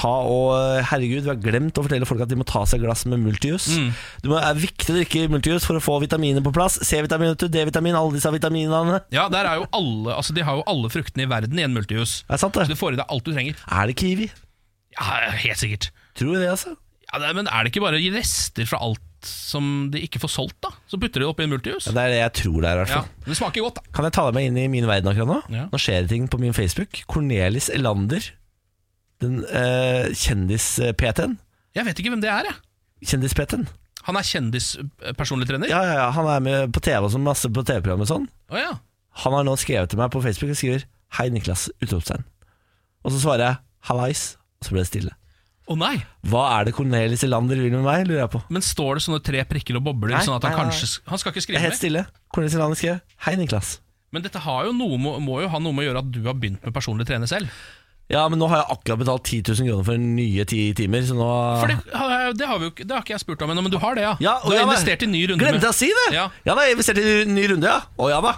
A: Ta og, eh, herregud, Vi har glemt å fortelle folk at de må ta seg glass med multijus.
H: Mm.
A: Det er viktig å drikke multijus for å få vitaminer på plass. C-vitamin, vet du, D-vitamin, alle disse vitaminene.
B: Ja, der er jo alle Altså, De har jo alle fruktene i verden i en multijus.
A: Er det sant,
B: Så du
A: det?
B: får i deg alt du trenger.
A: Er det kiwi?
B: Ja, Helt sikkert.
A: Tror du det, altså?
B: Ja, det, Men er det ikke bare rester fra alt som de ikke får solgt, da? Så putter de det oppi en multijus.
A: Ja, det er det jeg tror det er, i hvert
B: Ja,
A: fall.
B: Det smaker godt, da.
A: Kan jeg ta deg med inn i min verden akkurat nå?
B: Ja.
A: Nå skjer det ting på min Facebook. Cornelis Elander, den eh, kjendis-PT-en.
B: Jeg vet ikke hvem det er, jeg.
A: Kjendis-PT-en.
B: Han er kjendispersonlig trener? Å ja.
A: Ja, ja, ja, han er med på TV og sånn, masse på TV-program og sånn.
B: ja.
A: Han har nå skrevet til meg på Facebook og skriver Hei Niklas, utropstegn Og så svarer jeg Hallais Og så ble det stille
B: Å nei!
A: Hva er det Cornelis Elander vil med meg, lurer jeg på
B: Men står det sånne tre prikker og bobler?
A: Nei,
B: sånn at han
A: nei, nei.
B: kanskje Han skal ikke
A: Det
B: skrive
A: er helt
B: mer?
A: stille Cornelis Elander skrev Hei Niklas
B: Men dette har jo noe, må, må jo ha noe med å gjøre at du har begynt med personlig trener selv.
A: Ja, men nå har jeg akkurat betalt 10 000 kroner for nye 10 timer Så nå
B: For det, har- det, har vi jo, ikke- det har ikke jeg spurt om ennå, men du har det, ja?
A: Ja, og
B: du har
A: jeg-
B: investert i ny runde.
A: Glemte
B: med-
A: jeg å si det?
B: Ja.
A: da, jeg investerte i en ny runde, ja Å ja da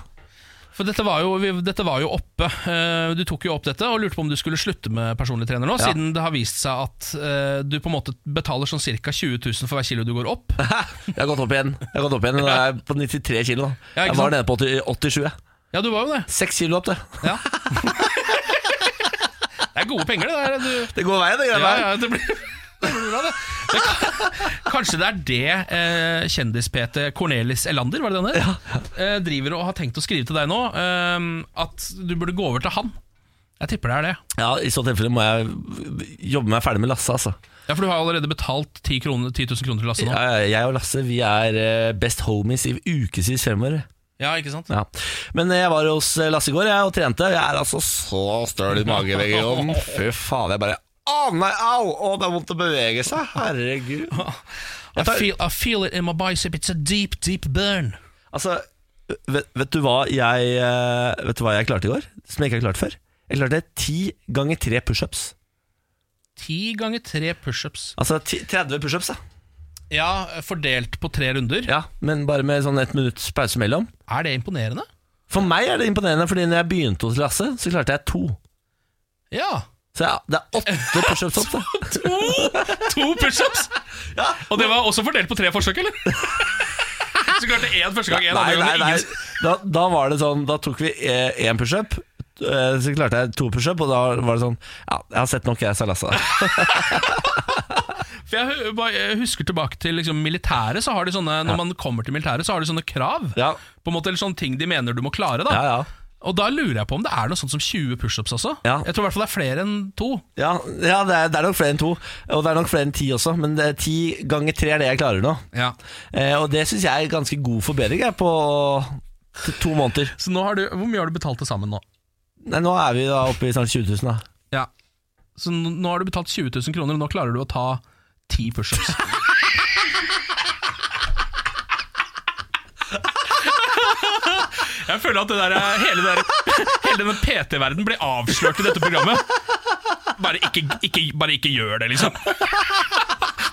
B: For dette var jo, vi, dette var jo oppe. Eh, Du tok jo opp dette og lurte på om du skulle slutte med personlig trener nå,
A: Ja.
B: siden det har vist seg at eh, du på en måte betaler sånn ca. 20 000 for hver kilo du går opp.
A: Jeg har gått opp igjen. Jeg har gått opp igjen Nå er jeg på 93 kilo. da.
B: Ja, ikke
A: jeg var
B: sant?
A: nede på 80, 87. jeg.
B: Ja, du var jo det.
A: Seks kilo opp, det.
B: Ja. Det er gode penger, det der. Du,
A: Det går veien, det
B: ja,
A: gjør veien.
B: ja, det blir, det blir bra, det. det kan, kanskje det er det eh, kjendis-PT Cornelis Elander var det denne? Eh, driver og har tenkt å skrive til deg nå, eh, at du burde gå over til han. Jeg tipper det er det.
A: Ja, I så tilfelle må jeg jobbe meg ferdig med Lasse. altså
B: Ja, For du har allerede betalt 10, kroner, 10 000 kroner til Lasse nå.
A: ja, ja, Jeg og Lasse vi er eh, best homies i ukevis fremover.
B: Ja, ikke sant?
A: Ja. Men eh, jeg var hos Lasse i går jeg, og trente. Jeg er altså så støl i mageveggen. Fy faen, jeg bare Å nei, au! Å, det er vondt å bevege seg. Herregud.
B: I feel, I feel it in my bicep, it's a deep, deep burn.
A: Altså, vet, vet, du hva jeg, eh, vet du hva jeg klarte i går? Som jeg ikke har klart før? Jeg klarte ti ganger tre pushups.
B: 10 ganger 3 pushups.
A: Altså ti, 30 pushups, da.
B: Ja, fordelt på tre runder.
A: Ja, men bare med sånn ett minutts pause mellom.
B: Er det imponerende?
A: For meg er det imponerende, fordi når jeg begynte hos Lasse, så klarte jeg to.
B: Ja.
A: Så ja, det er åtte pushups opp, da.
B: To, to pushups!
A: Ja.
B: Og det var også fordelt på tre forsøk, eller? Så klarte én første gang, én
A: Nei,
B: andre
A: nei,
B: gang.
A: nei.
B: ingen-
A: Da, da var det sånn Da tok vi én pushup. eh, Så klarte jeg to pushup, og da var det sånn Ja, jeg har sett nok, jeg, sa Lasse.
B: For jeg hu- bare- jeg husker tilbake til liksom, militæret, så har de sånne når man kommer til militæret, så har de sånne krav.
A: Ja.
B: På en måte, eller sånne ting de mener du må klare. da
A: Ja, ja.
B: Og da lurer jeg på om det er noe sånt som 20 pushups også.
A: Ja.
B: Jeg tror i hvert fall det er flere enn to.
A: Ja, ja det, er, det er nok flere enn to, og det er nok flere enn ti også, men det er ti ganger tre er det jeg klarer nå.
B: Ja.
A: Eh, og det syns jeg er ganske god forbedring jeg, på t- to måneder.
B: Så nå har du, Hvor mye har du betalt til sammen nå?
A: Nei, nå er vi da oppe i snart 20 000, da.
B: Ja Så n- nå har du betalt 20 000 kroner, og nå klarer du å ta ti pushups. Jeg føler at det der, er- hele, det der, hele denne PT-verden blir avslørt i dette programmet. Bare ikke, ikke, bare ikke gjør det, liksom.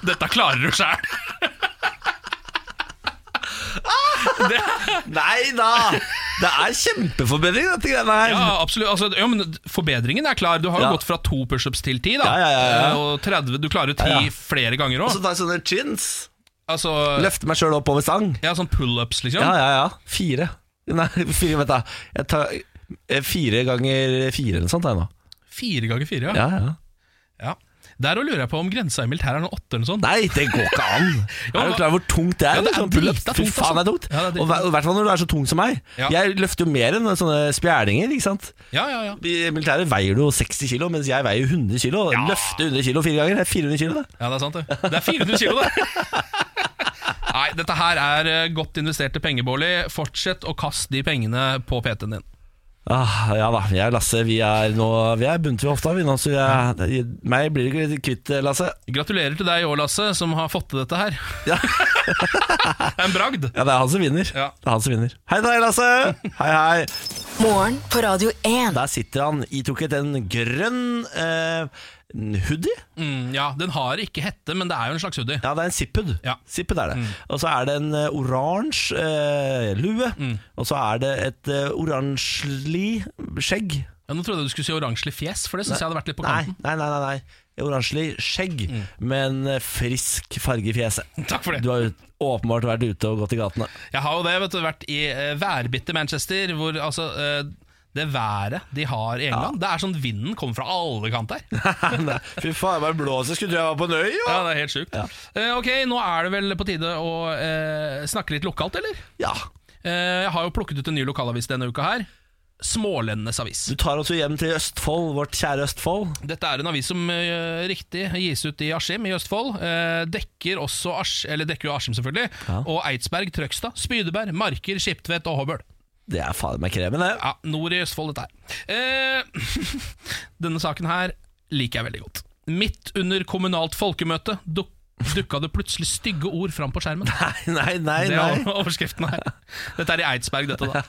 B: Dette klarer du sjæl.
A: Nei da! Det er kjempeforbedring, dette greiene her.
B: Ja, absolutt. Altså, ja, men forbedringen er klar. Du har jo
A: Ja.
B: gått fra to pushups til ti. da.
A: Ja, ja, ja, ja.
B: Eh, Og 30, du klarer jo ti
A: Ja, ja.
B: flere ganger
A: Og så
B: òg.
A: tar jeg sånne chins.
B: Altså,
A: Løfter meg sjøl opp over stang.
B: ja, sånn pullups, liksom.
A: Ja, ja, ja. Fire. Nei, fire, vent da. Jeg tar eh, fire ganger fire eller noe sånt jeg nå.
B: Fire ganger fire, ja.
A: Ja, ja.
B: ja. Der òg lurer jeg på om grensa i militæret er noen åtte eller noe sånt.
A: Nei, det går ikke an!
B: Ja,
A: Er
B: hva-
A: du klar over hvor tungt det er?
B: Ja, det er
A: Sånn pull-ups.
B: drita
A: Fy
B: tungt,
A: faen, det er
B: altså.
A: tungt.
B: Ja, det er drita
A: Og hver- og i hvert fall når du er så tung som meg.
B: Ja.
A: Jeg løfter jo mer enn sånne spjælinger, ikke sant.
B: Ja, ja, ja.
A: I militæret veier du jo 60 kilo, mens jeg veier jo 100 kilo. Løfte 100 kilo fire ganger, det er 400 kilo, det.
B: ja, det er sant, det. Det er 400 kilo, det! Nei, dette her er eh, godt investerte penger, Bårli. Fortsett å kaste de pengene på PT-en din.
A: Ah, ja da, jeg og Lasse, vi er nå Vi er bundet ved hofta, vi nå, så jeg, meg blir du ikke kvitt, eh, Lasse.
B: Gratulerer til deg òg, Lasse, som har fått til dette her.
A: Ja.
B: Det er en bragd.
A: Ja, det er han som vinner.
B: Ja.
A: Det er han som vinner. Hei til deg, Lasse! Hei, hei.
D: Morgen på Radio 1.
A: Der sitter han itrukket en grønn eh, hoodie.
B: Mm, ja, Den har ikke hette, men det er jo en slags hoodie.
A: Ja, det er en zipped.
B: Ja. Mm.
A: Zipped er det. Og så er det en eh, oransje eh, lue.
B: Mm.
A: Og så er det et eh, oransjelig skjegg.
B: Ja, nå trodde jeg du skulle si oransjelig fjes, for det syns jeg hadde vært litt på
A: Nei,
B: kanten. Mm.
A: nei, nei. nei, nei. Oransjelig skjegg, men eh, frisk farge i fjeset.
B: Takk for det.
A: Du har jo åpenbart vært ute og gått i gatene.
B: Jeg har jo det, vet du, vært i eh, værbitte Manchester, hvor altså eh, det været de har i England Det er sånn vinden kommer fra alle kanter. Ja,
A: Fy faen, bare blåser. Skulle tro jeg var på en øy, jo!
B: det er helt sjukt. Eh, ok, nå er det vel på tide å eh, snakke litt lokalt, eller?
A: Ja.
B: Eh, jeg har jo plukket ut en ny lokalavis denne uka her. Smålendenes avis.
A: Du tar oss jo hjem til Østfold, vårt kjære Østfold.
B: Dette er en avis som eh, riktig gis ut i Askim i Østfold. eh, dekker også Asch, eller dekker jo Askim, selvfølgelig. Og Eidsberg, Trøgstad, Spydeberg, Marker, Skiptvet og Hobøl.
A: Det er faen meg kremen, det.
B: Ja, nord i Østfold dette her. Eh, denne saken her liker jeg veldig godt. Midt under kommunalt folkemøte duk dukka det plutselig stygge ord fram på skjermen.
A: Nei, nei, nei.
B: Det
A: nei.
B: er overskriften her. Dette er i Eidsberg, dette da.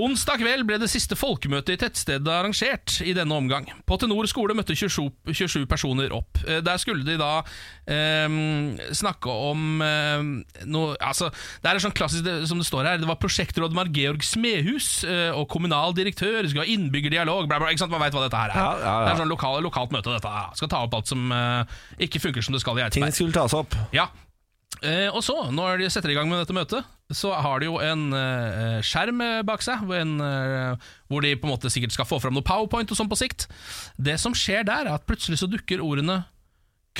B: Onsdag kveld ble det siste folkemøtet i tettstedet arrangert i denne omgang. På Tenor skole møtte 27, 27 personer opp. Eh, Der skulle de da ehm, snakke om eh, noe Altså, det er sånn klassisk det, som det står her. Det var prosjektrådmann Georg Smehus eh, og kommunal direktør. Vi Skulle ha innbyggerdialog, bla, bla. Ikke sant? Man veit hva dette her er.
A: Ja, ja, ja.
B: Det er sånn lokal, lokalt møte, dette her. Skal ta opp alt som eh, ikke funker som det skal i Eidsberg.
A: Ting skulle tas opp.
B: Ja. Eh, og så, når de setter i gang med dette møtet, så har de jo en eh, skjerm eh, bak seg, hvor en, eh, hvor de på en måte sikkert skal få fram noe powerpoint og sånn på sikt. Det som skjer der, er at plutselig så dukker ordene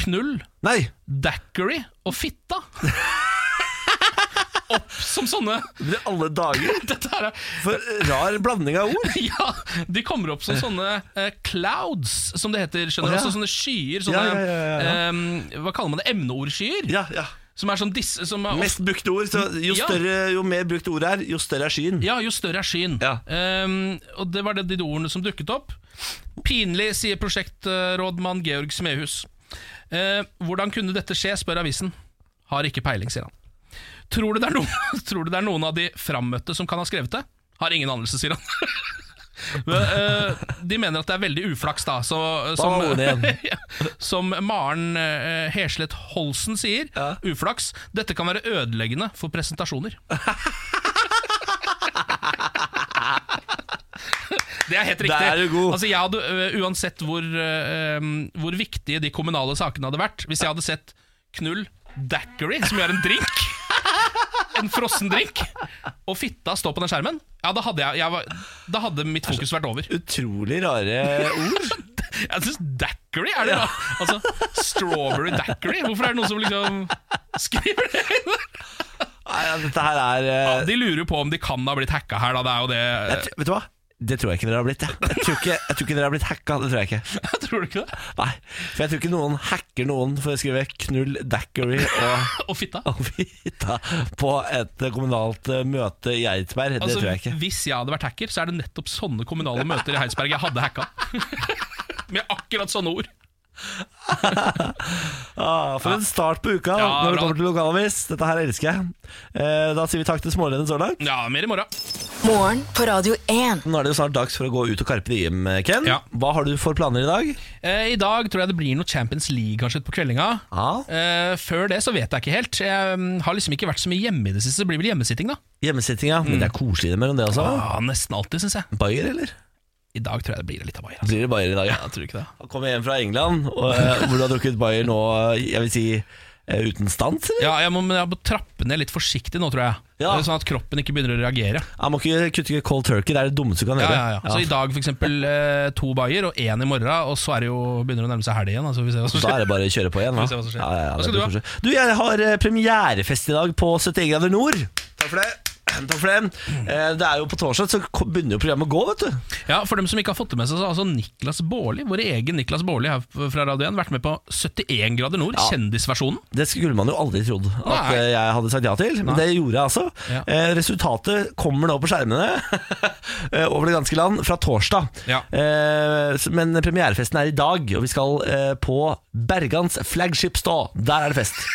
B: knull,
A: Nei!
B: daiquiri og fitta opp som sånne
A: Men i alle dager!
B: Dette her er
A: For rar blanding av ord.
B: ja, de kommer opp som sånne eh, clouds, som det heter. skjønner du?
A: Å, ja.
B: Altså Sånne skyer. Sånne,
A: Ja, ja, ja, ja, ja.
B: eh, hva kaller man det? Emneordskyer?
A: Ja, ja.
B: Som er sånn disse som er
A: Mest brukte ord. Så jo,
B: Ja.
A: større, jo mer brukte ord er, jo større er skyen.
B: Ja, jo større er skyen.
A: Ja.
B: Ehm, og det var det, de ordene som dukket opp. Pinlig, sier prosjektrådmann Georg Smehus. Eh, hvordan kunne dette skje, spør avisen. Har ikke peiling, sier han. Tror du det er noen, tror du det er noen av de frammøtte som kan ha skrevet det? Har ingen anelse, sier han. Men, eh, de mener at det er veldig uflaks, da. Så, eh, som,
A: var ordene
B: som Maren eh, Heslett Holsen sier,
A: Ja.
B: uflaks. Dette kan være ødeleggende for presentasjoner. Det er helt riktig.
A: Der er du god.
B: Altså, jeg hadde, ø, uansett hvor, ø, ø, hvor viktige de kommunale sakene hadde vært Hvis jeg hadde sett knull daiquiri, som gjør en drink En frossen drink, og fitta stå på den skjermen, ja, da hadde, jeg, jeg var, da hadde mitt fokus vært over.
A: Utrolig rare ord.
B: Jeg syns daiquiri er det da Altså, strawberry daiquiri. Hvorfor er det noen som liksom skriver det?
A: Nei, ja, dette her er eh,
B: De lurer jo på om de kan ha blitt hacka her, da. Det er jo det
A: jeg, tr- Vet du hva? Det tror jeg ikke dere har blitt. Jeg, jeg, tror, ikke, jeg tror ikke dere har blitt hacka. Det tror jeg ikke.
B: Tror du ikke det?
A: Nei, for jeg tror ikke noen hacker noen for å skrive 'knull daiquiri' og
B: Og fitta.
A: og vita på et kommunalt eh, møte i Eidsberg. Det
B: Altså,
A: tror jeg ikke.
B: Hvis jeg hadde vært hacker, så er det nettopp sånne kommunale møter i Heidsberg jeg hadde hacka. Med akkurat sånne ord.
A: Ah, for en start på uka
B: Ja,
A: når det
B: bra.
A: kommer til lokalavis. Dette her elsker jeg. Eh, da sier vi takk til smålenene så langt.
B: Ja, mer i morgen.
D: Morgen på Radio 1.
A: Nå er det jo snart dags for å gå ut og karpe diem, Ken.
B: Ja.
A: Hva har du for planer i dag?
B: Eh, I dag tror jeg det blir noe Champions League kanskje på kveldinga.
A: Ah.
B: Eh, før det så vet jeg ikke helt. Jeg mm, har liksom ikke vært så mye hjemme i det siste. Det blir vel hjemmesitting, da.
A: Hjemmesitting, ja. Men det er koselig mellom det også.
B: Mm. Ja, nesten alltid, syns jeg.
A: Bayer, eller?
B: I dag tror jeg det blir litt av bayer. Altså.
A: Blir det Bayer i dag? Ja.
B: Jeg tror ikke det.
A: Han kommer hjem fra England, og, eh, hvor du har drukket Bayer nå, jeg vil si eh, uten stans, eller?
B: Ja, jeg må, men jeg må trappe ned litt forsiktig nå, tror jeg.
A: Ja.
B: Sånn at kroppen ikke begynner å reagere.
A: Han må ikke kutte ikke cold turkey, det er det dummeste du kan
B: Ja,
A: gjøre.
B: ja, ja. Så i dag f.eks. Eh, to bayer og én i morgen, og så er det jo, begynner det å nærme seg helg igjen. Altså, vi ser hva som
A: Da
B: skjer.
A: er det bare å kjøre på igjen. Da.
B: Får vi se hva som skjer.
A: Ja, ja, ja,
B: Hva
A: det
B: skal
A: blir
B: du ha?
A: koselig. Du, jeg har eh, premierefest i dag på 71 grader nord. Takk for det. Takk for det. Eh, Det er jo på torsdag, så ko- begynner jo programmet å gå, vet du.
B: Ja, For dem som ikke har fått det med seg, så har altså Niklas Baarli, vår egen Niklas Baarli her fra Radio 1, vært med på 71 grader nord, kjendisversjonen.
A: Det skulle man jo aldri trodd at
B: Nei.
A: eh, jeg hadde sagt ja til, men
B: Nei.
A: det gjorde jeg altså.
B: Ja.
A: Eh, Resultatet kommer nå på skjermene eh, over det ganske land fra torsdag.
B: Ja.
A: Eh, s- Men premierefesten er i dag, og vi skal eh, på Bergans flagship stå. Der er det fest.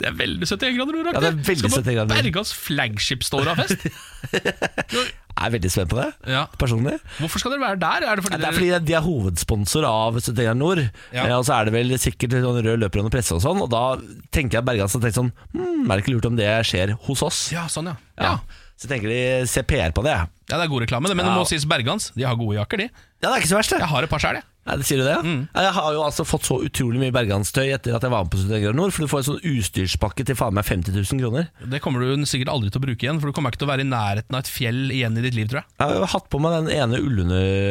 B: Det er veldig 71 grader nord,
A: Ja, det er veldig 71 grader nord.
B: Bergas flagship står av fest.
A: Jeg er veldig spent på det,
B: Ja.
A: personlig.
B: Hvorfor skal dere være der? Er det fordi
A: Ja, det er
B: dere-
A: fordi de er hovedsponsor av Studenter Nord.
B: Ja.
A: Eh, Og så er det vel sikkert litt sånn rød løper under presse og sånn. Og da tenker jeg Bergans har tenkt sånn hmm, Er det ikke lurt om det skjer hos oss?
B: Ja, sånn, ja. ja.
A: Ja. Så tenker de se PR på det.
B: Ja, det er god reklame, det, men det
A: Ja.
B: må sies Bergans. De har gode jakker, de.
A: Ja, det er ikke så verst, det.
B: Jeg har et par sjøl, jeg.
A: Nei, det sier du det? ja?
B: Mm.
A: Ja, Jeg har jo altså fått så utrolig mye Berganstøy etter at jeg var med på Studenter Nord, for du får en sånn utstyrspakke til faen meg 50 000 kroner.
B: Det kommer du sikkert aldri til å bruke igjen, for du kommer ikke til å være i nærheten av et fjell igjen i ditt liv, tror jeg.
A: Jeg har jo hatt på meg den ene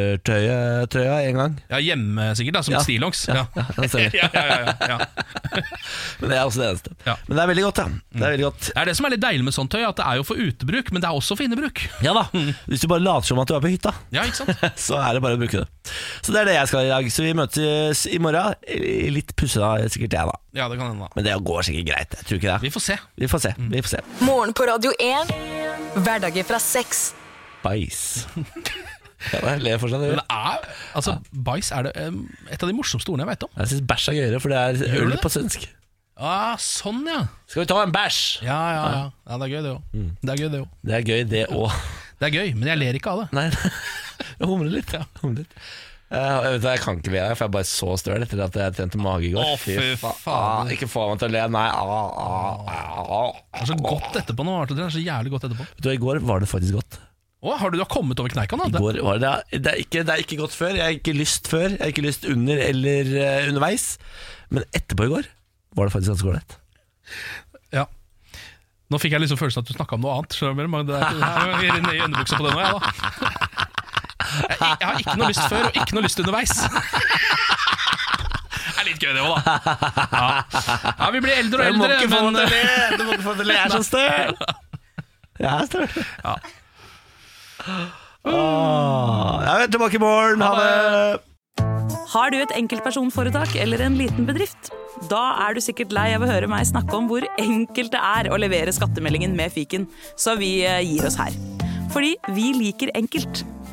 A: ullundertrøya en gang.
B: Ja, hjemme sikkert, da, som
A: Ja.
B: stillongs. Ja.
A: Ja, den ser vi.
B: Ja, ja, ja, ja, ja.
A: Men det er også det eneste.
B: Ja. Mm.
A: Men det er veldig godt, da. Det er veldig godt.
B: Det er det som er litt deilig med sånt tøy, at det er jo for utebruk, men det er også for innebruk.
A: Ja da.
B: Mm.
A: Hvis du bare later som at du er på hytta.
B: Ja, ikke sant?
A: så er det bare å bruke det. Så det er det jeg skal i dag. Så vi møtes i morgen. Litt pussa sikkert jeg, da.
B: Ja, det kan hende, da.
A: Men det går sikkert greit. Jeg tror ikke det.
B: Vi får se.
A: Vi får se.
B: Mm.
A: vi får se
D: Morgen på Radio 1. Hverdager fra seks.
A: Bæsj. Ja, jeg ler fortsatt.
B: Men
A: jeg.
B: det er, altså, bæsj er det um, et av de morsomste ordene jeg veit om.
A: Jeg syns bæsj er gøyere, for det er
B: du
A: øl
B: det?
A: på svensk.
B: Ah, sånn, ja.
A: Skal vi ta en bæsj?
B: Ja, ja, ja. ja det er gøy, det òg.
A: Mm.
B: Det er gøy, det også.
A: Det er gøy, det òg.
B: Det er gøy, men jeg ler ikke av det.
A: Nei, jeg humrer litt. Ja. Humrer litt. Eh, jeg, vet, hva, jeg kan ikke le av det, for jeg er bare så støl etter at jeg trente mage i går.
B: Å, fy
A: faen. Ikke få meg til å le. Nei, au, au, au.
B: Det er så godt etterpå nå. Arthur. Det er så jævlig godt etterpå.
A: Vet du, hva, I går var det faktisk godt.
B: Å, har du, du har kommet over kneika nå?
A: I
B: Det,
A: går var det, det, er ikke, det er ikke godt før. Jeg har ikke lyst før. Jeg har ikke lyst under eller eh, underveis. Men etterpå i går var det faktisk ganske ålreit.
B: ja. Nå fikk jeg liksom følelsen at du snakka om noe annet. Skjønner du? Men det er, det er, jeg er ned i underbuksa på det nå, jeg, da. Jeg, jeg har ikke noe lyst før, og ikke noe lyst underveis. Det er litt gøy, det òg, da. Ja. ja, vi blir eldre
A: Du
B: og
A: må ikke
B: eldre,
A: få meg
B: men eh,
A: til å le! Du må ikke få meg til å le, jeg er så støl! Jeg er støl.
B: Ja.
A: Åh, jeg er tilbake i morgen. Ha det!
D: Har du et enkeltpersonforetak eller en liten bedrift? Da er du sikkert lei av å høre meg snakke om hvor enkelt det er å levere skattemeldingen med fiken, så vi eh, gir oss her. Fordi vi liker enkelt.